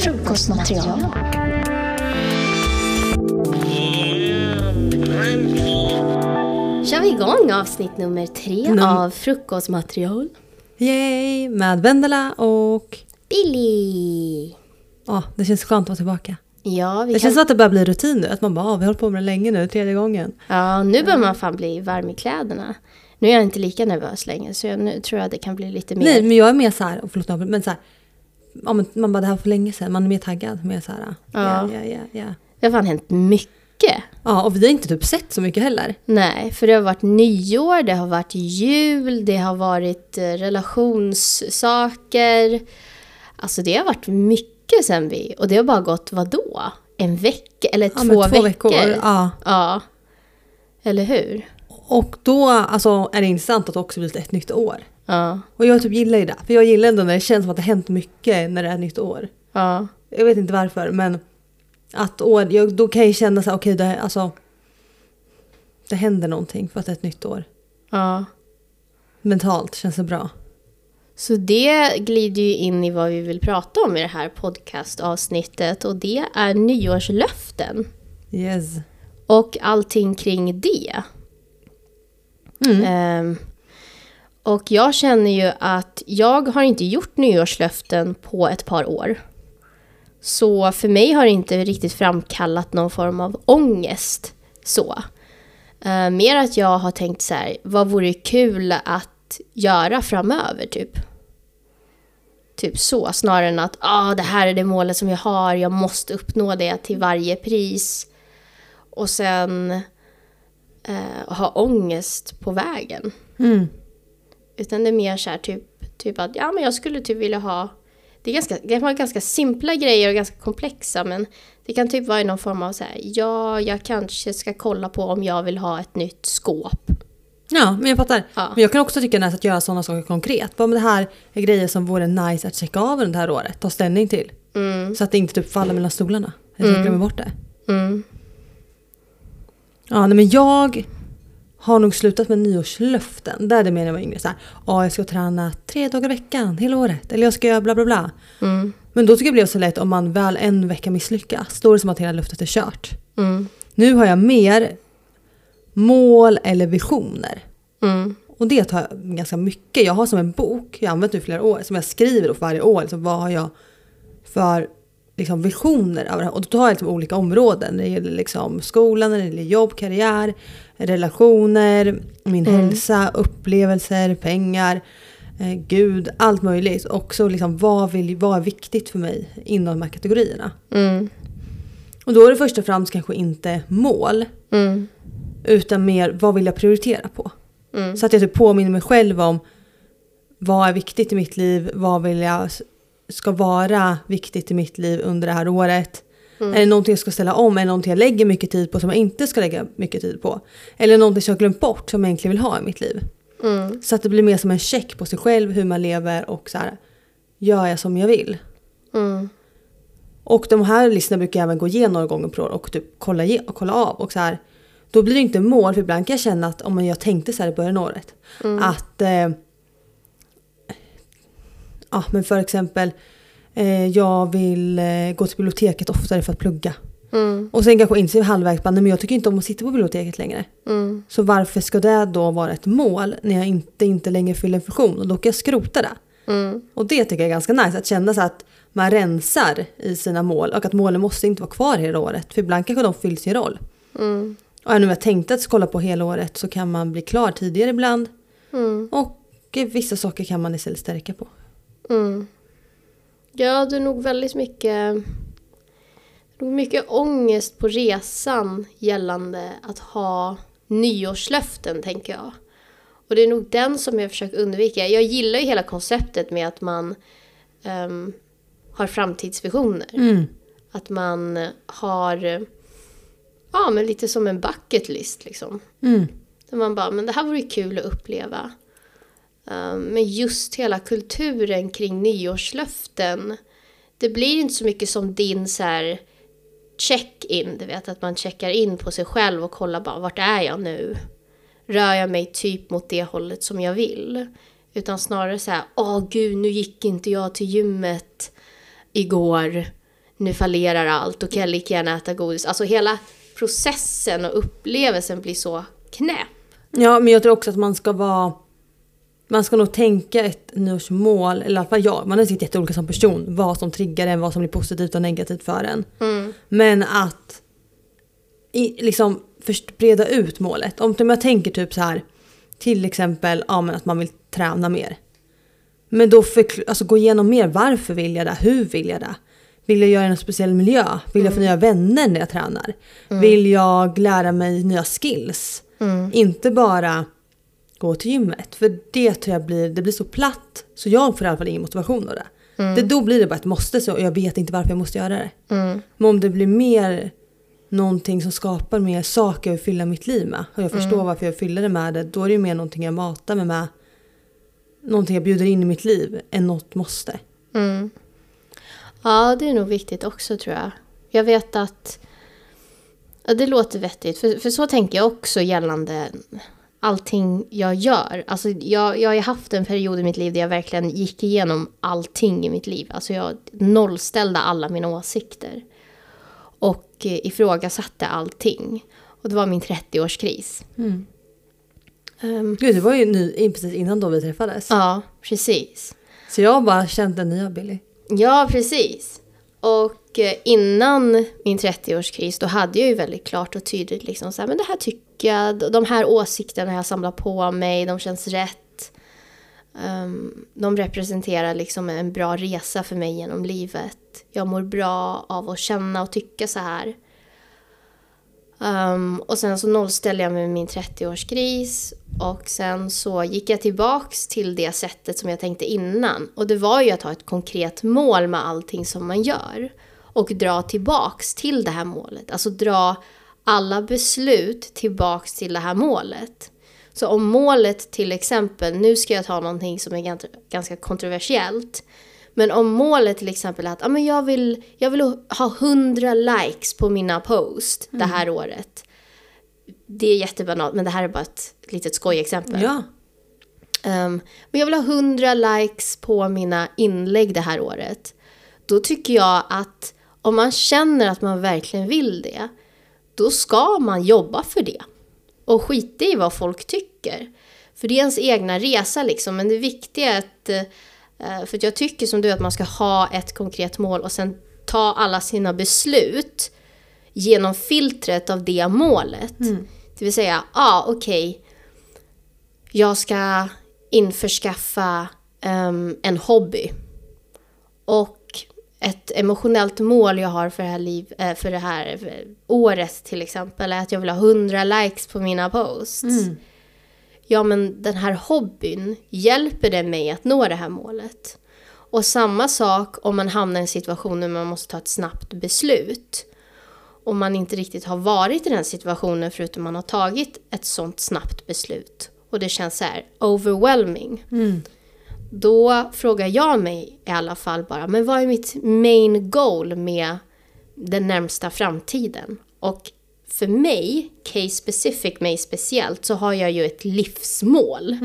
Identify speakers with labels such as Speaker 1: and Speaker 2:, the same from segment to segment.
Speaker 1: Frukostmaterial.
Speaker 2: kör vi igång avsnitt nummer tre
Speaker 3: Num-
Speaker 2: av Frukostmaterial.
Speaker 3: Yay! Med Vendela och...
Speaker 2: Billy!
Speaker 3: Ja, det känns skönt att vara tillbaka.
Speaker 2: Ja, vi
Speaker 3: Det
Speaker 2: kan...
Speaker 3: känns som att det börjar bli rutin nu. Att man bara, ah, vi har hållit på med det länge nu, tredje gången.
Speaker 2: ja, nu börjar man fan bli varm i kläderna. Nu är jag inte lika nervös längre så jag, nu tror jag det kan bli lite mer...
Speaker 3: Nej, men jag är mer så här, och förlåt, men så här, ja, men man bara, det här var för länge sedan. Man är mer taggad. Mer så här, ja, ja, ja, ja.
Speaker 2: Det har fan hänt mycket.
Speaker 3: Ja, och vi har inte typ sett så mycket heller.
Speaker 2: Nej, för det har varit nyår, det har varit jul, det har varit eh, relationssaker. Alltså det har varit mycket sen vi... Och det har bara gått, vadå? En vecka? Eller
Speaker 3: Ja,
Speaker 2: två,
Speaker 3: men två veckor,
Speaker 2: veckor?
Speaker 3: ja.
Speaker 2: ja. Eller hur?
Speaker 3: Och då alltså, är det intressant att det också blir ett nytt år.
Speaker 2: Ja.
Speaker 3: Och jag typ gillar ju det. För jag gillar ändå när det känns som att det har hänt mycket när det är nytt år.
Speaker 2: Ja.
Speaker 3: Jag vet inte varför men att år, jag, då kan jag ju känna så här, okej det, alltså, det händer någonting för att det är ett nytt år.
Speaker 2: Ja.
Speaker 3: Mentalt känns det bra.
Speaker 2: Så det glider ju in i vad vi vill prata om i det här podcastavsnittet och det är nyårslöften
Speaker 3: Yes.
Speaker 2: och allting kring det. Ehm, och jag känner ju att jag har inte gjort nyårslöften på ett par år. Så för mig har det inte riktigt framkallat någon form av ångest. Så. Ehm, mer att jag har tänkt så här, vad vore kul att göra framöver typ. Typ så, snarare än att ah, det här är det målet som jag har, jag måste uppnå det till varje pris. Och sen eh, ha ångest på vägen.
Speaker 3: Mm.
Speaker 2: Utan det är mer så här typ, typ att ja, men jag skulle typ vilja ha... Det, är ganska, det kan vara ganska simpla grejer och ganska komplexa men det kan typ vara i någon form av så här, ja, jag kanske ska kolla på om jag vill ha ett nytt skåp.
Speaker 3: Ja men jag fattar.
Speaker 2: Ja.
Speaker 3: Men jag kan också tycka nice att göra sådana saker konkret. Bara, men det här är grejer som vore nice att checka av under det här året. Ta ställning till. Så att det inte typ faller mellan stolarna. Eller mm. glömmer bort det.
Speaker 2: Mm.
Speaker 3: Ja, nej, men jag har nog slutat med nyårslöften. Där det mer när jag var yngre. Så här, ja, jag ska träna tre dagar i veckan hela året. Eller jag ska göra bla bla bla.
Speaker 2: Mm.
Speaker 3: Men då tycker jag det blev så lätt om man väl en vecka misslyckas. Då är det som att hela löftet är kört.
Speaker 2: Mm.
Speaker 3: Nu har jag mer mål eller visioner.
Speaker 2: Mm.
Speaker 3: Och det tar jag ganska mycket. Jag har som en bok, jag har använt nu i flera år, som jag skriver då för varje år. Liksom, vad har jag för liksom, visioner? Av det här? Och då tar jag liksom, olika områden. Det gäller liksom, skolan, det gäller jobb, karriär, relationer, min hälsa, upplevelser, pengar, eh, Gud, allt möjligt. Också liksom, vad, vill, vad är viktigt för mig inom de här kategorierna?
Speaker 2: Mm.
Speaker 3: Och då är det först och främst kanske inte mål,
Speaker 2: Mm.
Speaker 3: utan mer vad vill jag prioritera på?
Speaker 2: Mm.
Speaker 3: Så att jag typ påminner mig själv om vad är viktigt i mitt liv, vad vill jag ska vara viktigt i mitt liv under det här året. Är det någonting jag ska ställa om? Är det någonting jag lägger mycket tid på som jag inte ska lägga mycket tid på? Eller någonting som jag har glömt bort som jag egentligen vill ha i mitt liv?
Speaker 2: Mm.
Speaker 3: Så att det blir mer som en check på sig själv, hur man lever och så här, gör jag som jag vill?
Speaker 2: Mm.
Speaker 3: Och de här listorna brukar jag även gå igenom några gånger per år och typ kolla, ge- och kolla av. Och så här, då blir det inte mål för ibland kan jag känna att om jag tänkte så här i början av året.
Speaker 2: Mm.
Speaker 3: Att... Eh, ja men för exempel. Eh, jag vill eh, gå till biblioteket oftare för att plugga.
Speaker 2: Mm.
Speaker 3: Och sen kanske inser jag halvvägs bara, nej men jag tycker inte om att sitta på biblioteket längre.
Speaker 2: Mm.
Speaker 3: Så varför ska det då vara ett mål när jag inte, inte längre fyller en funktion? Och då kan jag skrota det.
Speaker 2: Mm.
Speaker 3: Och det tycker jag är ganska nice, att känna så att man rensar i sina mål och att målen måste inte vara kvar hela året för ibland kanske de fyller sin roll.
Speaker 2: Mm.
Speaker 3: Och även om jag tänkte att kolla på hela året så kan man bli klar tidigare ibland
Speaker 2: Mm.
Speaker 3: och vissa saker kan man istället stärka på.
Speaker 2: Mm. Ja, det är nog väldigt mycket, nog mycket ångest på resan gällande att ha nyårslöften, tänker jag. Och det är nog den som jag försöker undvika. Jag gillar ju hela konceptet med att man ehm, har framtidsvisioner. Att man har, ja men lite som en bucket list liksom. Där man bara, men det här vore kul att uppleva. Ehm, Men just hela kulturen kring nyårslöften. Det blir inte så mycket som din så här check-in, du vet att man checkar in på sig själv och kollar bara vart är jag nu? Rör jag mig typ mot det hållet som jag vill? Utan snarare så här, åh gud, nu gick inte jag till gymmet igår, nu fallerar allt, då kan jag lika gärna äta godis. Alltså hela processen och upplevelsen blir så knäpp.
Speaker 3: Ja, men jag tror också att man ska vara... Man ska nog tänka ett nyårsmål, eller i alla fall jag, man är säkert jätteolika som person, vad som triggar en, vad som blir positivt och negativt för en. Men att i, liksom först breda ut målet. Om om jag tänker typ så här, till exempel ja, men att man vill träna mer. Men då förkl- alltså, gå igenom mer, varför vill jag det? Hur vill jag det? Vill jag göra en speciell miljö? Vill jag få nya vänner när jag tränar? Vill jag lära mig nya skills? Inte bara gå till gymmet. För det tror jag blir, det blir så platt så jag får i alla fall ingen motivation av det. det då blir det bara ett måste så och jag vet inte varför jag måste göra det. Men om det blir mer någonting som skapar mer saker jag vill fylla mitt liv med och jag förstår varför jag fyller det med det, då är det ju mer någonting jag matar mig med. Någonting jag bjuder in i mitt liv än något måste.
Speaker 2: Ja, det är nog viktigt också tror jag. Jag vet att... Ja, det låter vettigt, för, för så tänker jag också gällande allting jag gör. Alltså, jag, jag har ju haft en period i mitt liv där jag verkligen gick igenom allting i mitt liv. Alltså, jag nollställde alla mina åsikter och eh, ifrågasatte allting. Och det var min 30-årskris. Ehm,
Speaker 3: Gud, det var ju ny, precis innan då vi träffades.
Speaker 2: ja, precis.
Speaker 3: Så jag har bara känt den nya Billy.
Speaker 2: Ja, precis. Och eh, innan min 30-årskris då hade jag ju väldigt klart och tydligt liksom så här, men det här tycker jag, de här åsikterna jag samlar på mig, de känns rätt. Ehm, de representerar liksom en bra resa för mig genom livet. Jag mår bra av att känna och tycka så här. Ehm, och sen så nollställde jag mig med min 30-årskris och sen så gick jag tillbaks till det sättet som jag tänkte innan. Och det var ju att ha ett konkret mål med allting som man gör. Och dra tillbaks till det här målet. Alltså dra alla beslut tillbaks till det här målet. Så om målet till exempel, nu ska jag ta någonting som är gans- ganska kontroversiellt. Men om målet till exempel är att ah, men jag, vill, jag vill ha 100 likes på mina post det här året. Det är jättebanalt, men det här är bara ett litet skojexempel.
Speaker 3: Ja.
Speaker 2: Ehm, men jag vill ha 100 likes på mina inlägg det här året. Då tycker jag att om man känner att man verkligen vill det, då ska man jobba för det. Och skita i vad folk tycker. För det är ens egna resa liksom, men det viktiga är att... eh, För att jag tycker som du att man ska ha ett konkret mål och sen ta alla sina beslut genom filtret av det målet. Det vill säga, ja ah, okej, jag ska införskaffa ehm, en hobby. Och ett emotionellt mål jag har för det här, liv, eh, för det här eh, året till exempel är att jag vill ha 100 likes på mina posts. Ja, men den här hobbyn, hjälper den mig att nå det här målet? Och samma sak om man hamnar i en situation där man måste ta ett snabbt beslut om man inte riktigt har varit i den situationen förutom man har tagit ett sånt snabbt beslut och det känns så här overwhelming. Då frågar jag mig i alla fall bara, men vad är mitt main goal med den närmsta framtiden? Och för mig, case specific mig speciellt, så har jag ju ett livsmål.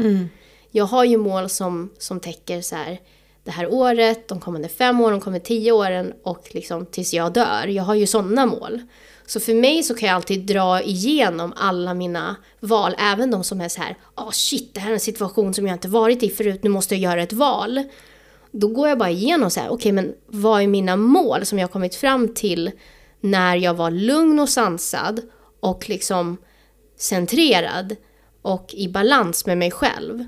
Speaker 2: Jag har ju mål som, som täcker så här, det här året, de kommande fem åren, de kommande tio åren och liksom tills jag dör. Jag har ju sådana mål. Så för mig så kan jag alltid dra igenom alla mina val, även de som är så här, ah shit, det här är en situation som jag inte varit i förut, nu måste jag göra ett val. Då går jag bara igenom så här, okej men vad är mina mål som jag kommit fram till när jag var lugn och sansad och liksom centrerad och i balans med mig själv.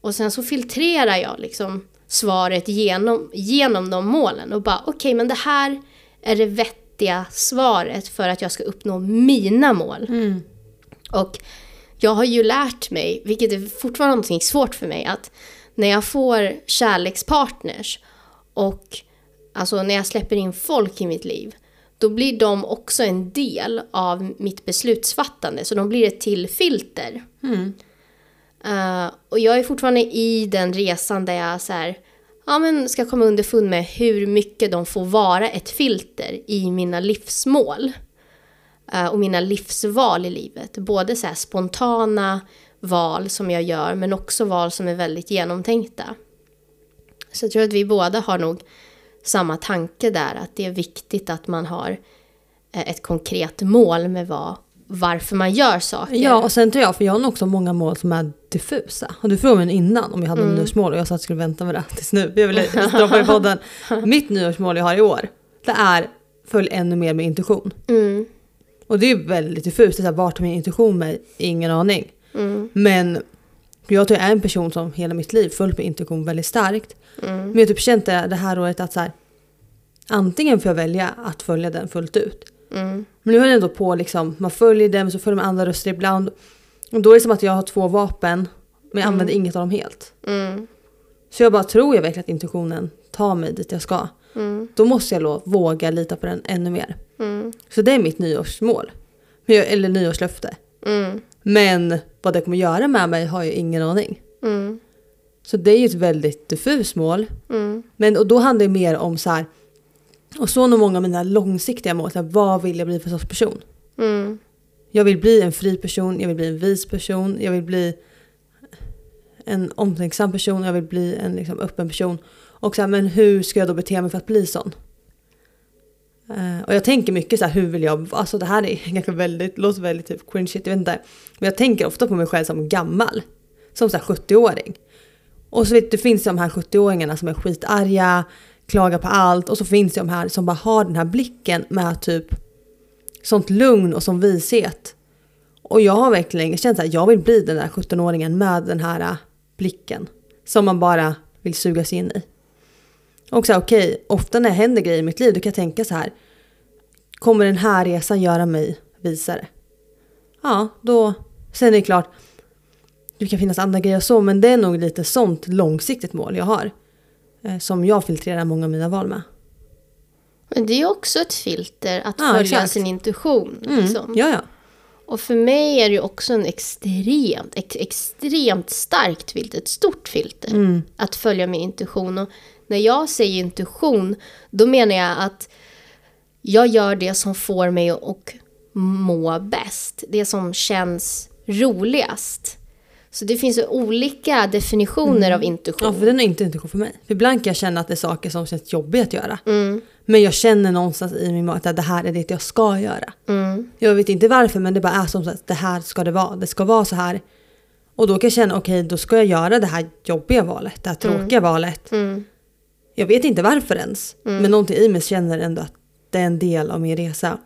Speaker 2: Och sen så filtrerar jag liksom svaret genom, genom de målen och bara okej men det här är det vettiga svaret för att jag ska uppnå mina mål. Och jag har ju lärt mig, vilket är fortfarande någonting svårt för mig, att när jag får kärlekspartners och alltså när jag släpper in folk i mitt liv, då blir de också en del av mitt beslutsfattande. Så de blir ett till filter. Eh, och jag är fortfarande i den resan där jag så här, ja, men ska komma underfund med hur mycket de får vara ett filter i mina livsmål eh, och mina livsval i livet. Både så här spontana val som jag gör men också val som är väldigt genomtänkta. Så jag tror att vi båda har nog samma tanke där att det är viktigt att man har eh, ett konkret mål med vad, varför man gör saker.
Speaker 3: Ja, och sen tror jag, för jag har nog också många mål som är diffusa. Och du frågade mig innan om jag hade nyårsmål och jag sa att jag skulle vänta med det tills nu. Jag ville droppa i podden. Mitt nyårsmål jag har i år, det är följ ännu mer med intuition.
Speaker 2: Mm,
Speaker 3: Och det är väldigt diffust, det är så här, vart tar min intuition mig? Ingen aning.
Speaker 2: mm,
Speaker 3: Men jag tror jag är en person som hela mitt liv följt med intuition väldigt starkt.
Speaker 2: mm.
Speaker 3: Men jag har typ känt det, det här året att så här, antingen får jag välja att följa den fullt ut.
Speaker 2: mm,
Speaker 3: Men nu är det ändå på liksom, man följer dem så följer man andra röster ibland. Och då är det som att jag har två vapen men jag använder inget av dem helt.
Speaker 2: mm,
Speaker 3: Så jag bara tror jag verkligen att intuitionen tar mig dit jag ska.
Speaker 2: mm,
Speaker 3: Då måste jag då våga lita på den ännu mer.
Speaker 2: mm,
Speaker 3: Så det är mitt nyårsmål. Men jag, eller nyårslöfte.
Speaker 2: mm,
Speaker 3: Men vad det kommer göra med mig har jag ingen aning.
Speaker 2: mm,
Speaker 3: Så det är ju ett väldigt diffust mål.
Speaker 2: mm,
Speaker 3: Men, och då handlar det mer om så här, och så nog många av mina långsiktiga mål, så här, vad vill jag bli för sorts person?
Speaker 2: mm.
Speaker 3: Jag vill bli en fri person, jag vill bli en vis person, jag vill bli en omtänksam person, jag vill bli en liksom, öppen person. Och så här, men hur ska jag då bete mig för att bli sån? Eh, och jag tänker mycket så här, hur vill jag, alltså det här är ganska väldigt, låter väldigt typ cringe shit, jag vet inte. Men jag tänker ofta på mig själv som gammal. Som så här 70-åring. Och så vet du, finns det de här 70-åringarna som är skitarga, klagar på allt. Och så finns det de här som bara har den här blicken med typ sånt lugn och sån vishet. Och jag har verkligen känt att jag vill bli den där 17-åringen med den här äh, blicken. Som man bara vill suga sig in i. Och så här, okej, ofta när det händer grejer i mitt liv då kan jag tänka så här. Kommer den här resan göra mig visare? Ja, då... Sen är det klart, det kan finnas andra grejer och så, men det är nog lite sånt långsiktigt mål jag har. eh, Som jag filtrerar många av mina val med.
Speaker 2: Men det är också ett filter att
Speaker 3: Ja,
Speaker 2: följa
Speaker 3: exakt.
Speaker 2: sin intuition. Liksom.
Speaker 3: Mm. Ja, ja.
Speaker 2: Och för mig är det ju också en extremt, ex, extremt starkt filter, ett stort filter.
Speaker 3: Mm.
Speaker 2: Att följa min intuition. Och när jag säger intuition, då menar jag att jag gör det som får mig att och må bäst. Det som känns roligast. Så det finns ju olika definitioner av
Speaker 3: Mm. Ja,
Speaker 2: intuition.
Speaker 3: för den är inte intuition för mig. För ibland kan jag känna att det är saker som känns jobbiga att göra. Men jag känner någonstans i min mage att det här är det jag ska göra. Jag vet inte varför men det bara är som att det här ska det vara. Det ska vara så här. Och då kan jag känna okej då ska jag göra det här jobbiga valet, det här tråkiga valet.
Speaker 2: Mm.
Speaker 3: Jag vet inte varför ens. Men någonting i mig känner ändå att det är en del av min resa.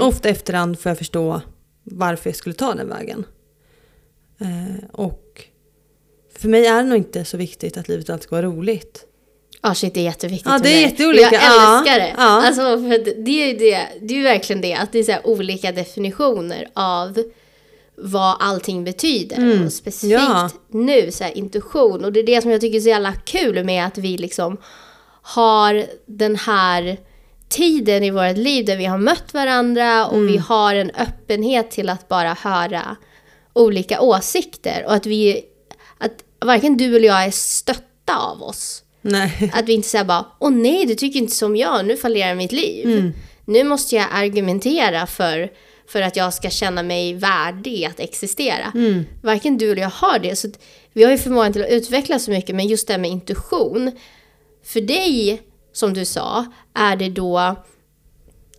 Speaker 3: Ofta efterhand får jag förstå varför jag skulle ta den vägen. Eh, och för mig är det nog inte så viktigt att livet alltid ska vara roligt.
Speaker 2: Ja, shit, det är jätteviktigt
Speaker 3: Ja,
Speaker 2: för
Speaker 3: det är
Speaker 2: mig.
Speaker 3: jätteolika.
Speaker 2: Jag
Speaker 3: Ja,
Speaker 2: älskar det.
Speaker 3: ja.
Speaker 2: Alltså, för att det, är ju det, det är ju verkligen det, att det är så här olika definitioner av vad allting betyder. Och specifikt
Speaker 3: Mm. Ja.
Speaker 2: nu, så här, intuition. Och det är det som jag tycker är så jävla kul med att vi liksom har den här tiden i vårt liv där vi har mött varandra och
Speaker 3: Mm.
Speaker 2: vi har en öppenhet till att bara höra olika åsikter. Och att vi, att varken du eller jag är stötta av oss.
Speaker 3: Nej.
Speaker 2: Att vi inte säger bara, åh nej, du tycker inte som jag, nu fallerar mitt liv. Nu måste jag argumentera för, för att jag ska känna mig värdig att existera. Varken du eller jag har det. Så att vi har ju förmågan till att utvecklas så mycket, men just det här med intuition. För dig, som du sa, är det då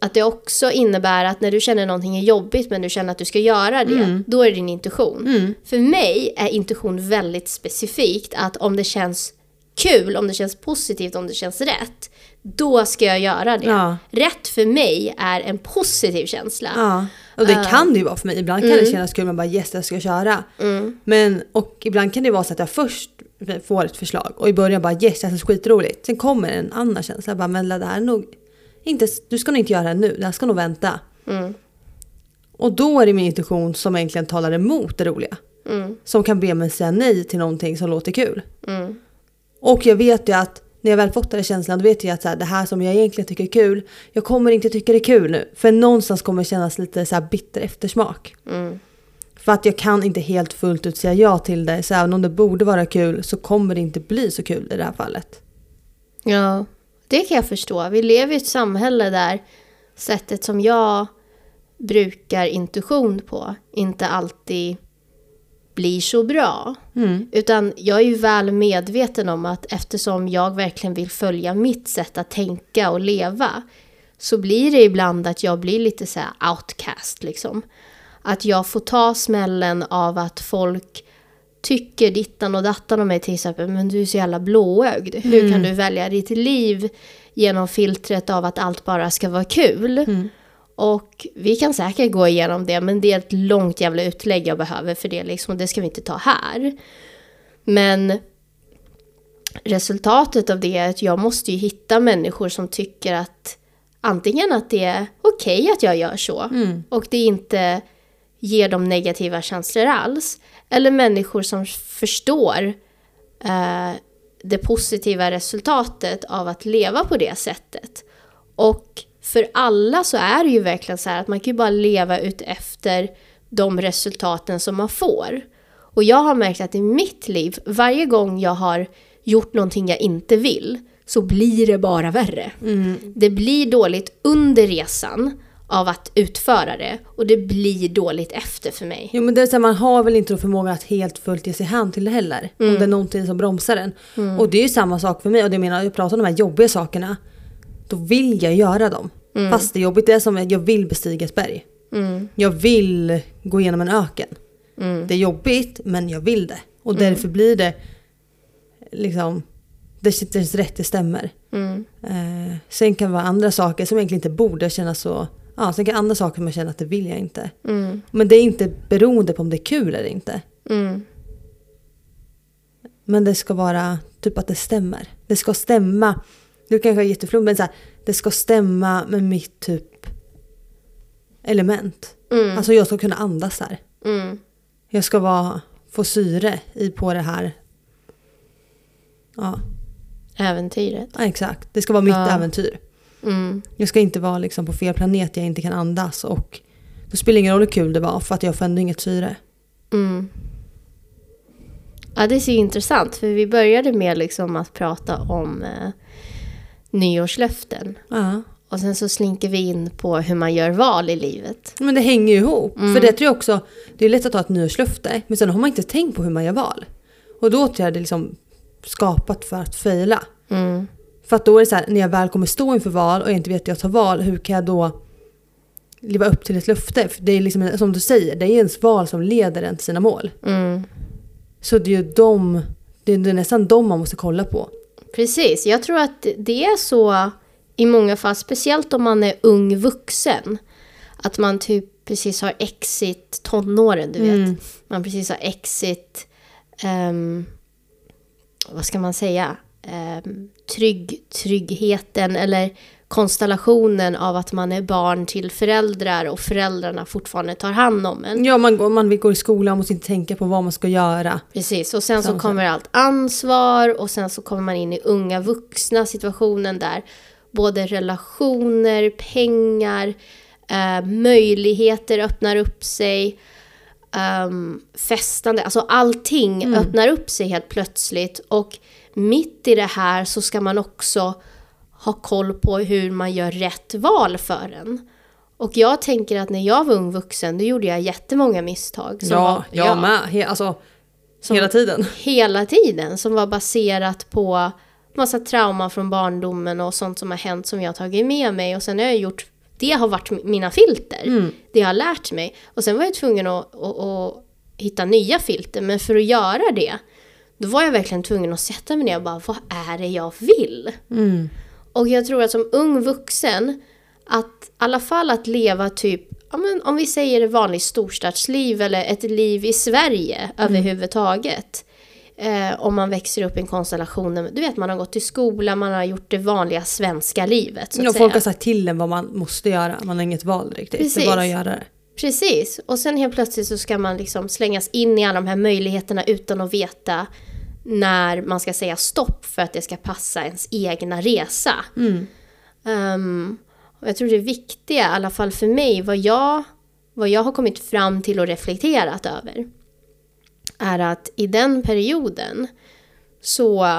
Speaker 2: att det också innebär att när du känner någonting är jobbigt men du känner att du ska göra det,
Speaker 3: Mm.
Speaker 2: då är det din intuition. För mig är intuition väldigt specifikt att om det känns kul, om det känns positivt, om det känns rätt, då ska jag göra det.
Speaker 3: Ja.
Speaker 2: Rätt för mig är en positiv känsla.
Speaker 3: Ja. Och det kan det ju vara för mig. Ibland kan det kännas kul, man bara yes jag ska köra. Men, och ibland kan det vara så att jag först får ett förslag och i början bara yes det här känns skitroligt. Sen kommer en annan känsla, jag bara men det här är nog inte, du ska nog inte göra det här nu, det här ska nog vänta. Och då är det min intuition som egentligen talar emot det roliga. Som kan be mig säga nej till någonting som låter kul. Och jag vet ju att när jag väl fått den här känslan då vet jag att så här, det här som jag egentligen tycker är kul, jag kommer inte tycka det är kul nu. För någonstans kommer det kännas lite så här bitter eftersmak. För att jag kan inte helt fullt ut säga ja till det. Så även om det borde vara kul så kommer det inte bli så kul i det här fallet.
Speaker 2: Ja, det kan jag förstå. Vi lever i ett samhälle där sättet som jag brukar intuition på inte alltid blir så bra.
Speaker 3: Mm.
Speaker 2: Utan jag är ju väl medveten om att eftersom jag verkligen vill följa mitt sätt att tänka och leva så blir det ibland att jag blir lite så här outcast liksom. Att jag får ta smällen av att folk tycker dittan och dattan om mig till exempel, men du är så jävla blåögd. Hur kan du välja ditt liv genom filtret av att allt bara ska vara kul? Och vi kan säkert gå igenom det, men det är ett långt jävla utlägg jag behöver för det liksom, och det ska vi inte ta här. Men resultatet av det är att jag måste ju hitta människor som tycker att antingen att det är okej att jag gör så och det inte ger dem negativa känslor alls. Eller människor som förstår eh, det positiva resultatet av att leva på det sättet. Och för alla så är det ju verkligen så här att man kan ju bara leva ut efter de resultaten som man får. Och jag har märkt att i mitt liv, varje gång jag har gjort någonting jag inte vill, så blir det bara värre. Det blir dåligt under resan av att utföra det och det blir dåligt efter för mig.
Speaker 3: Jo men det är så här, man har väl inte då förmågan att helt fullt ge sig hän till det heller. Om det är någonting som bromsar en. Och det är ju samma sak för mig. Och det menar jag pratar om de här jobbiga sakerna. Då vill jag göra dem. Fast det är jobbigt. Det är som att jag vill bestiga ett berg.
Speaker 2: Mm,
Speaker 3: Jag vill gå igenom en öken. Det är jobbigt men jag vill det. Och därför blir det liksom, det sitter ens rätt, det stämmer.
Speaker 2: mm,
Speaker 3: Eh, sen kan det vara andra saker som egentligen inte borde kännas så. Ja, sen kan andra saker man känner att det vill jag inte. Men det är inte beroende på om det är kul eller inte.
Speaker 2: Mm.
Speaker 3: Men det ska vara typ att det stämmer. Det ska stämma. Du kanske är jätteflummig men så här, det ska stämma med mitt typ element.
Speaker 2: Mm.
Speaker 3: Alltså jag ska kunna andas här.
Speaker 2: Mm.
Speaker 3: Jag ska vara, få syre i på det här. Ja,
Speaker 2: Äventyret.
Speaker 3: ja, exakt. Det ska vara mitt
Speaker 2: Ja.
Speaker 3: äventyr.
Speaker 2: Mm.
Speaker 3: Jag ska inte vara liksom på fel planet jag inte kan andas och då spelar det ingen roll hur kul det var för att jag får ändå inget syre.
Speaker 2: Mm. Ja, det är så intressant för vi började med liksom att prata om eh, nyårslöften.
Speaker 3: Ja.
Speaker 2: Och sen så slinker vi in på hur man gör val i livet.
Speaker 3: Men det hänger ju ihop. För det tror jag också, det är lätt att ta ett nyårslöfte men sen har man inte tänkt på hur man gör val. Och då tror jag det är liksom skapat för att fejla.
Speaker 2: Mm.
Speaker 3: För att då är det så här, när jag väl kommer stå inför val och jag inte vet att jag tar val, hur kan jag då leva upp till ett löfte? För det är liksom, som du säger, det är ens val som leder en till sina mål.
Speaker 2: Mm.
Speaker 3: Så det är ju dem, det är nästan dem man måste kolla på.
Speaker 2: Precis, jag tror att det är så i många fall, speciellt om man är ung vuxen. Att man typ precis har exit tonåren, du vet.
Speaker 3: Mm.
Speaker 2: Man precis har exit, ehm, vad ska man säga, Ehm, trygg, tryggheten eller konstellationen av att man är barn till föräldrar och föräldrarna fortfarande tar hand om en.
Speaker 3: Ja, man går, man vill gå i skolan, måste inte tänka på vad man ska göra.
Speaker 2: Precis, och sen så
Speaker 3: Samma sak.
Speaker 2: kommer allt ansvar och sen så kommer man in i unga vuxna situationen där både relationer, pengar, eh, möjligheter öppnar upp sig, ehm, festande, alltså allting
Speaker 3: Mm.
Speaker 2: öppnar upp sig helt plötsligt och mitt i det här så ska man också ha koll på hur man gör rätt val för en. Och jag tänker att när jag var ung vuxen, då gjorde jag jättemånga misstag. som var-
Speaker 3: Ja, jag med. He, alltså, hela tiden.
Speaker 2: hela tiden som var baserat på massa trauma från barndomen och sånt som har hänt som jag har tagit med mig och sen har jag gjort det har varit mi- mina filter. Det jag har lärt mig. Och sen var jag tvungen att, att, att hitta nya filter. Men för att göra det, då var jag verkligen tvungen att sätta mig ner och bara, vad är det jag vill?
Speaker 3: Mm.
Speaker 2: Och jag tror att som ung vuxen, att i alla fall att leva typ, ja, men om vi säger ett vanligt storstadsliv eller ett liv i Sverige
Speaker 3: Mm.
Speaker 2: överhuvudtaget. Eh, om man växer upp i en konstellation, där- du vet man har gått i skola, man har gjort det vanliga svenska livet. Så att
Speaker 3: Ja,
Speaker 2: säga.
Speaker 3: folk har sagt till en vad man måste göra, man har inget val riktigt. Det
Speaker 2: Precis.
Speaker 3: är bara att göra det.
Speaker 2: Precis, och sen helt plötsligt så ska man liksom slängas in i alla de här möjligheterna utan att veta när man ska säga stopp för att det ska passa ens egna resa. Ehm, och jag tror det viktiga, i alla fall för mig, vad jag, vad jag har kommit fram till och reflekterat över är att i den perioden så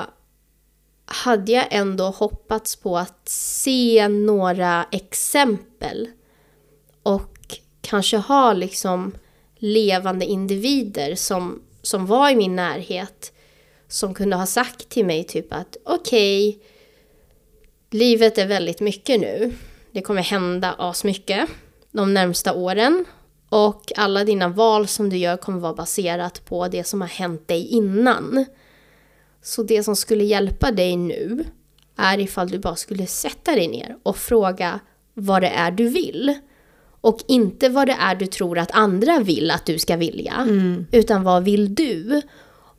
Speaker 2: hade jag ändå hoppats på att se några exempel och kanske ha liksom levande individer som, som var i min närhet som kunde ha sagt till mig typ att okej, livet är väldigt mycket nu. Det kommer hända asmycket de närmsta åren och alla dina val som du gör kommer vara baserat på det som har hänt dig innan. Så det som skulle hjälpa dig nu är ifall du bara skulle sätta dig ner och fråga vad det är du vill. Och inte vad det är du tror att andra vill att du ska vilja. Utan vad vill du?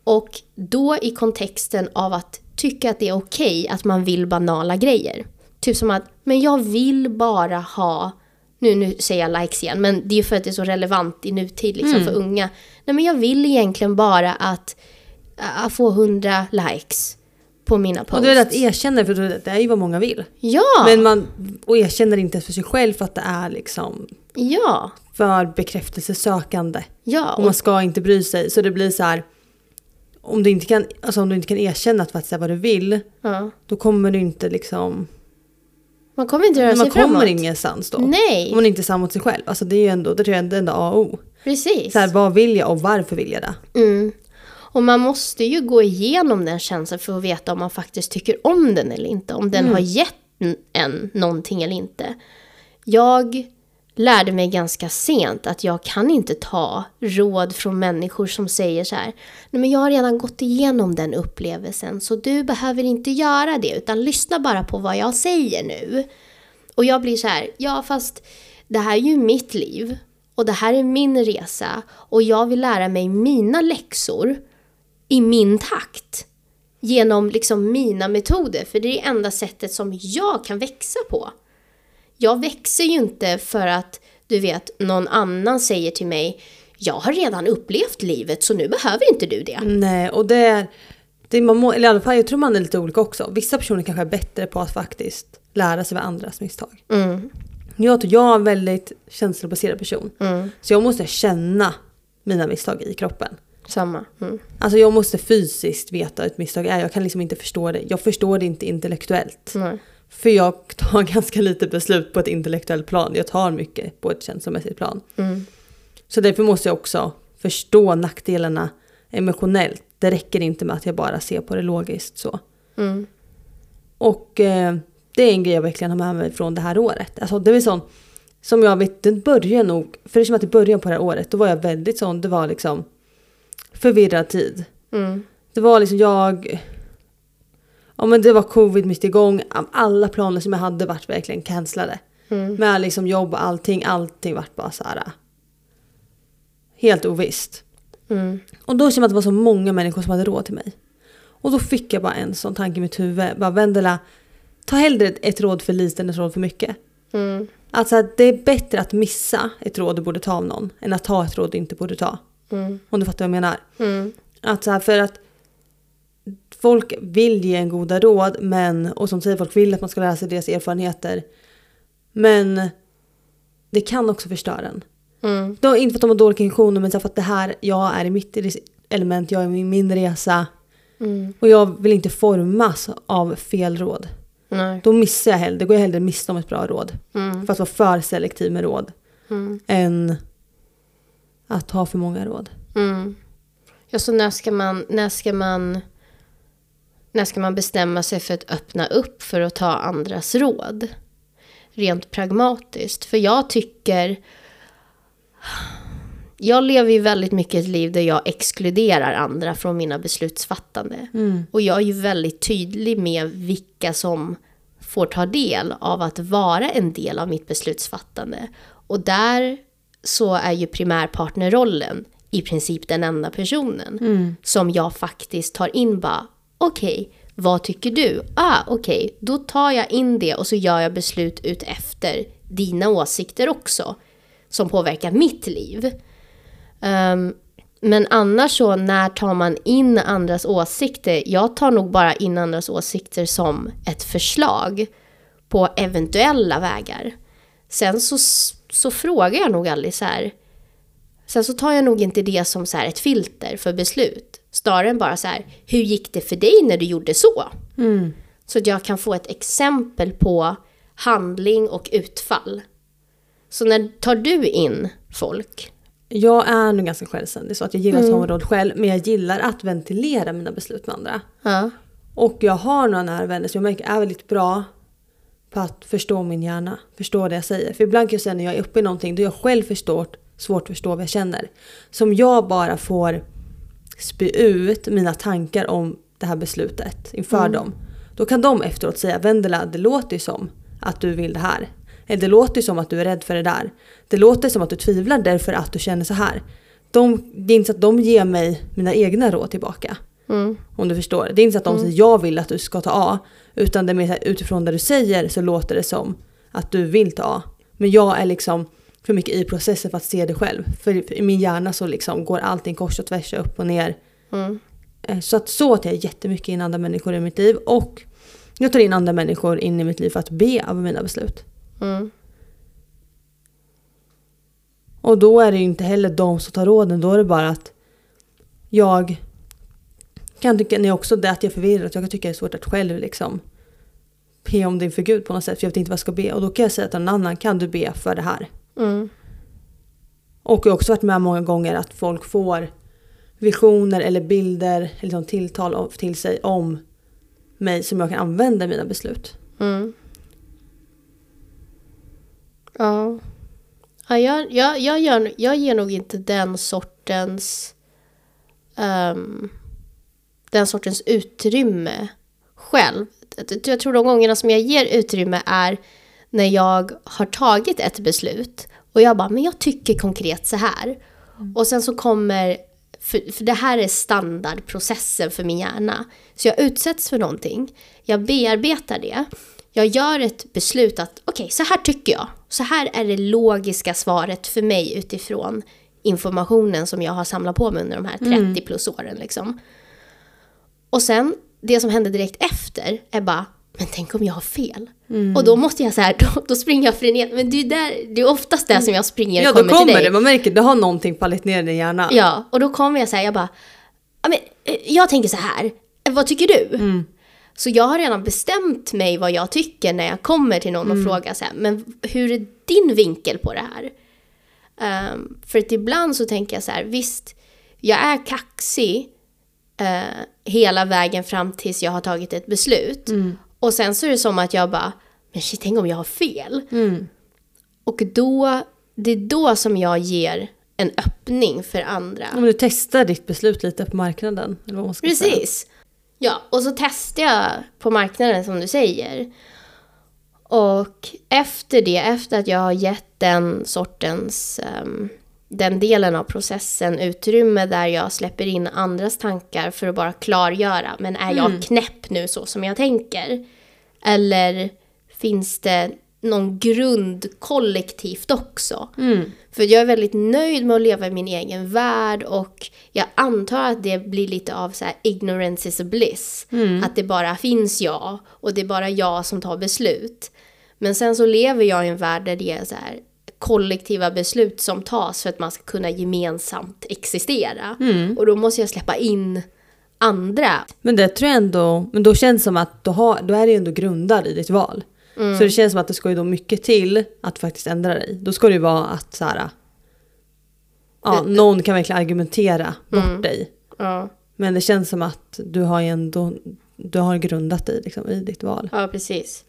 Speaker 2: Och då i kontexten av att tycka att det är okej att man vill banala grejer. Typ som att, men jag vill bara ha, nu, nu säger jag likes igen, men det är ju för att det är så relevant i nutid liksom, för unga. Nej men jag vill egentligen bara att, att få 100 likes på mina posts.
Speaker 3: Och det är att erkänna, för det är ju vad många vill.
Speaker 2: Ja!
Speaker 3: Men man och erkänner inte ens för sig själv för att det är liksom
Speaker 2: Ja!
Speaker 3: för bekräftelsesökande.
Speaker 2: Ja,
Speaker 3: Och
Speaker 2: och,
Speaker 3: man ska inte bry sig. Så det blir så här, om du inte kan, alltså om du inte kan erkänna att faktiskt är vad du vill,
Speaker 2: ja.
Speaker 3: då kommer du inte liksom...
Speaker 2: Man kommer inte röra
Speaker 3: Men
Speaker 2: sig
Speaker 3: man
Speaker 2: framåt.
Speaker 3: kommer ingenstans då.
Speaker 2: Nej,
Speaker 3: Om man inte är sann mot sig själv. Alltså det är ju ändå, det tror jag är ändå A och O.
Speaker 2: precis.
Speaker 3: Så här, vad vill jag och varför vill jag det?
Speaker 2: Mm. Och man måste ju gå igenom den känslan för att veta om man faktiskt tycker om den eller inte. Om den har gett n- en någonting eller inte. Jag lärde mig ganska sent att jag kan inte ta råd från människor som säger så här. Nej men jag har redan gått igenom den upplevelsen så du behöver inte göra det utan lyssna bara på vad jag säger nu. Och jag blir så här, ja fast det här är ju mitt liv och det här är min resa och jag vill lära mig mina läxor i min takt. Genom liksom mina metoder, för det är det enda sättet som jag kan växa på. Jag växer ju inte för att, du vet, någon annan säger till mig jag har redan upplevt livet så nu behöver inte du det.
Speaker 3: Nej, och det är... Det är man må, eller i alla fall, jag tror man är lite olika också. Vissa personer kanske är bättre på att faktiskt lära sig av andras misstag.
Speaker 2: Mm,
Speaker 3: Jag, tror jag är en väldigt känslobaserad person.
Speaker 2: mm,
Speaker 3: Så jag måste känna mina misstag i kroppen.
Speaker 2: samma. Mm.
Speaker 3: Alltså jag måste fysiskt veta hur ett misstag är. Jag kan liksom inte förstå det. Jag förstår det inte intellektuellt.
Speaker 2: Nej.
Speaker 3: För jag tar ganska lite beslut på ett intellektuellt plan. Jag tar mycket på ett känslomässigt plan.
Speaker 2: Mm,
Speaker 3: Så därför måste jag också förstå nackdelarna emotionellt. Det räcker inte med att jag bara ser på det logiskt så.
Speaker 2: mm,
Speaker 3: Och eh, det är en grej jag verkligen har med mig från det här året. Alltså det är väl sån som jag vet, den börjar nog, för det är som att i början på det här året då var jag väldigt sån, det var liksom förvirrad tid.
Speaker 2: mm,
Speaker 3: Det var liksom jag... Ja men det var covid mitt igång. Alla planer som jag hade vart verkligen cancellade.
Speaker 2: mm,
Speaker 3: Med liksom jobb och allting. Allting vart bara så här. äh, Helt ovisst.
Speaker 2: mm,
Speaker 3: Och då kände jag att det var så många människor som hade råd till mig. Och då fick jag bara en sån tanke i mitt huvud. Bara Vendela, ta hellre ett- ett råd för lite än ett råd för mycket.
Speaker 2: mm,
Speaker 3: Alltså att det är bättre att missa ett råd du borde ta av någon. Än att ta ett råd du inte borde ta.
Speaker 2: mm,
Speaker 3: Om du fattar vad jag menar.
Speaker 2: mm.
Speaker 3: Att så här, för att folk vill ge en goda råd men, och som säger folk vill att man ska lära sig deras erfarenheter. Men det kan också förstöra en.
Speaker 2: Mm,
Speaker 3: Då, inte för att de har dåliga intentioner men så här för att det här, jag är i mitt res- element, jag är i min resa.
Speaker 2: mm,
Speaker 3: Och jag vill inte formas av fel råd.
Speaker 2: nej.
Speaker 3: Då missar jag hellre, då går jag hellre miste om ett bra råd.
Speaker 2: Mm,
Speaker 3: För att vara för selektiv med råd.
Speaker 2: mm,
Speaker 3: Än att ha för många råd.
Speaker 2: mm. Ja, så när ska man, när ska man, när ska man bestämma sig för att öppna upp för att ta andras råd? Rent pragmatiskt. För jag tycker... Jag lever ju väldigt mycket ett liv där jag exkluderar andra från mina beslutsfattande. Och jag är ju väldigt tydlig med vilka som får ta del av att vara en del av mitt beslutsfattande. Och där så är ju primärpartnerrollen i princip den enda personen som jag faktiskt tar in bara, okej, vad tycker du? Ah, okej, då tar jag in det och så gör jag beslut ut efter dina åsikter också, som påverkar mitt liv. Ehm, men annars så, när tar man in andras åsikter? Jag tar nog bara in andras åsikter som ett förslag på eventuella vägar. Sen så, så frågar jag nog aldrig så här, Sen så tar jag nog inte det som så här ett filter för beslut. Snarare än bara så här, hur gick det för dig när du gjorde så? Så att jag kan få ett exempel på handling och utfall. Så när tar du in folk?
Speaker 3: Jag är nog ganska självständig så att jag gillar att ta en roll själv men jag gillar att ventilera mina beslut med andra.
Speaker 2: Ja.
Speaker 3: Och jag har några nära vänner som jag märker är väldigt bra på att förstå min hjärna. Förstå det jag säger. För ibland kan jag säga när jag är uppe i någonting då är jag själv förstår, svårt att förstå vad jag känner. Som jag bara får spy ut mina tankar om det här beslutet inför dem. Då kan de efteråt säga Vendela, det låter ju som att du vill det här. Eller det låter ju som att du är rädd för det där. Det låter som att du tvivlar därför att du känner så här. De, det är inte så att de ger mig mina egna råd tillbaka.
Speaker 2: Mm,
Speaker 3: Om du förstår. Det är inte så att de säger jag vill att du ska ta A. Utan det är mer så här, utifrån det du säger så låter det som att du vill ta A. Men jag är liksom för mycket i processen för att se det själv. För i- i min hjärna så liksom går allting kors och tvärs, upp och ner.
Speaker 2: mm,
Speaker 3: Eh, Så att så att jag jättemycket in andra människor i mitt liv. Och jag tar in andra människor in i mitt liv för att be över mina beslut.
Speaker 2: Mm.
Speaker 3: Och då är det ju inte heller de som tar råden, då är det bara att jag kan tycka, när jag också det att jag är förvirrad, jag kan tycka det är svårt att själv liksom be om det inför Gud på något sätt, för jag vet inte vad jag ska be. Och då kan jag säga till någon annan, kan du be för det här?
Speaker 2: Mm.
Speaker 3: Och jag har också varit med många gånger att folk får visioner eller bilder eller liksom tilltal av- till sig om mig som jag kan använda i mina beslut.
Speaker 2: Mm. Ja. ja jag, jag, jag, gör, jag ger nog inte den sortens... ehm, den sortens utrymme själv. Jag- Jag tror de gångerna som jag ger utrymme är när jag har tagit ett beslut och jag bara, men jag tycker konkret så här.
Speaker 3: Mm.
Speaker 2: Och sen så kommer, för, för det här är standardprocessen för min hjärna. Så jag utsätts för någonting, jag bearbetar det, jag gör ett beslut att okej, så här tycker jag. Så här är det logiska svaret för mig utifrån informationen som jag har samlat på mig under de här
Speaker 3: Mm.
Speaker 2: 30 plus åren. Liksom. Och sen, det som hände direkt efter är bara, men tänk om jag har fel?
Speaker 3: Mm.
Speaker 2: Och då måste jag så här, då, då springer jag frenet. Men det är, ju där, det är oftast där som jag springer
Speaker 3: Ja,
Speaker 2: och
Speaker 3: då
Speaker 2: kommer, till
Speaker 3: kommer
Speaker 2: dig.
Speaker 3: det. Man märker det har någonting fallit ner i din hjärna.
Speaker 2: Ja, och då kommer jag säga, jag bara, "Ja, men, eh, jag tänker så här, Eh, vad tycker du? Så jag har redan bestämt mig vad jag tycker när jag kommer till någon och frågar så här, men hur är din vinkel på det här? Ehm, för att ibland så tänker jag så här, visst, jag är kaxig eh, hela vägen fram tills jag har tagit ett beslut. Och sen så är det som att jag bara, men shit, tänk om jag har fel? Och då, det är då som jag ger en öppning för andra.
Speaker 3: Om du testar ditt beslut lite på marknaden. Eller vad man ska säga.
Speaker 2: Precis. Ja, och så testar jag på marknaden som du säger. Och efter det, efter att jag har gett den sortens, ehm, den delen av processen utrymme där jag släpper in andras tankar för att bara klargöra, men är
Speaker 3: Mm.
Speaker 2: jag knäpp nu så som jag tänker? Eller finns det någon grund kollektivt också? För jag är väldigt nöjd med att leva i min egen värld och jag antar att det blir lite av så här ignorance is a bliss. Att det bara finns jag och det är bara jag som tar beslut. Men sen så lever jag i en värld där det är så här kollektiva beslut som tas för att man ska kunna gemensamt existera. Och då måste jag släppa in andra.
Speaker 3: Men det tror jag ändå, men då känns det som att då, har, då är det ju ändå grundad i ditt val.
Speaker 2: Mm.
Speaker 3: Så det känns som att det ska ju då mycket till att faktiskt ändra dig. Då ska det ju vara att så här,
Speaker 2: Eh,
Speaker 3: ja, någon kan verkligen argumentera bort
Speaker 2: Mm.
Speaker 3: dig.
Speaker 2: Ja,
Speaker 3: Men det känns som att du har ju ändå, du har grundat dig liksom, i ditt val.
Speaker 2: ja precis.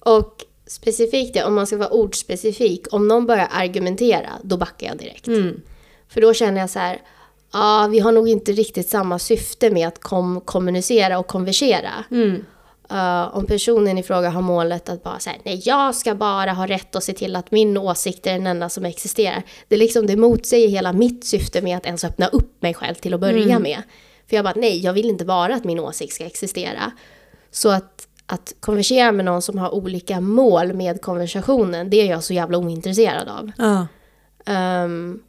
Speaker 2: Och specifikt det, om man ska vara ordspecifik, om någon börjar argumentera, då backar jag direkt. För då känner jag så här, ja, vi har nog inte riktigt samma syfte med att kom, kommunicera och konversera. Eh, om personen i fråga har målet att bara säga nej jag ska bara ha rätt och se till att min åsikt är den enda som existerar. Det är liksom det motsäger hela mitt syfte med att ens öppna upp mig själv till att börja med. För jag bara nej, jag vill inte bara att min åsikt ska existera. Så att, att konversera med någon som har olika mål med konversationen, det är jag så jävla ointresserad av.
Speaker 3: Ja.
Speaker 2: Ehm,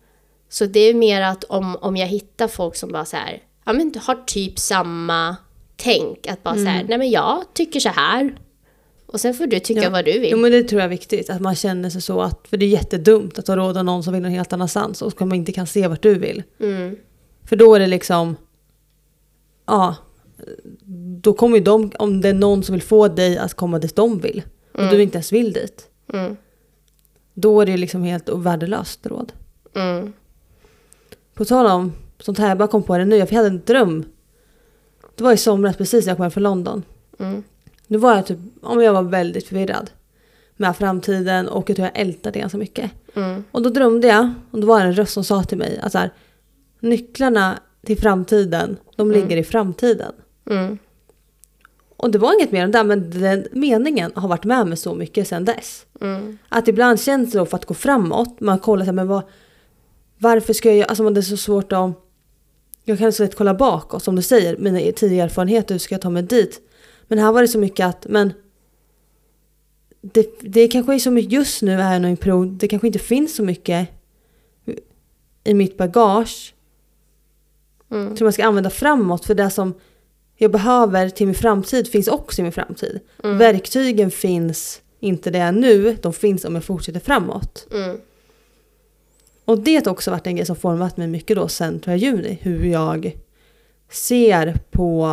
Speaker 2: så det är mer att om, om jag hittar folk som bara så här, ja men
Speaker 3: Mm.
Speaker 2: du har typ samma tänk. Att bara så här, nej men jag tycker så här. Och sen får du tycka
Speaker 3: Ja.
Speaker 2: vad du vill.
Speaker 3: Jo men det tror jag är viktigt, att man känner sig så att, för det är jättedumt att ha råd av någon som vill någon helt annanstans och som inte kan se vart du vill.
Speaker 2: Mm.
Speaker 3: För då är det liksom, ja, då kommer ju de, om det är någon som vill få dig att komma dit de vill och
Speaker 2: Mm.
Speaker 3: du inte ens vill dit,
Speaker 2: Mm.
Speaker 3: då är det ju liksom helt värdelöst råd.
Speaker 2: Mm.
Speaker 3: På tal om sånt här, jag bara kom på det nu, jag hade en dröm. Det var i somras precis när jag kom hem från London.
Speaker 2: Mm.
Speaker 3: Nu var jag typ, om jag var väldigt förvirrad med framtiden och jag tror jag ältade ganska mycket.
Speaker 2: Mm.
Speaker 3: Och då drömde jag, och då var det en röst som sa till mig att så här, nycklarna till framtiden, de ligger i framtiden.
Speaker 2: Mm.
Speaker 3: Och det var inget mer än det, men den meningen har varit med mig så mycket sedan dess.
Speaker 2: Mm.
Speaker 3: Att ibland känns det då för att gå framåt, man kollar så här, men vad, varför ska jag göra, alltså det är så svårt att, jag kan så lätt kolla bakåt som du säger, mina e-, tidigare erfarenheter, hur ska jag ta mig dit? Men här var det så mycket att, men det, det kanske är så mycket, just nu är jag nog i en period, det kanske inte finns så mycket i mitt bagage
Speaker 2: Mm.
Speaker 3: som jag ska använda framåt. För det som jag behöver till min framtid finns också i min framtid.
Speaker 2: Mm.
Speaker 3: Verktygen finns inte där jag är nu, de finns om jag fortsätter framåt.
Speaker 2: Mm.
Speaker 3: Och det har också varit en grej som format mig mycket då sen tror jag juni. Hur jag ser på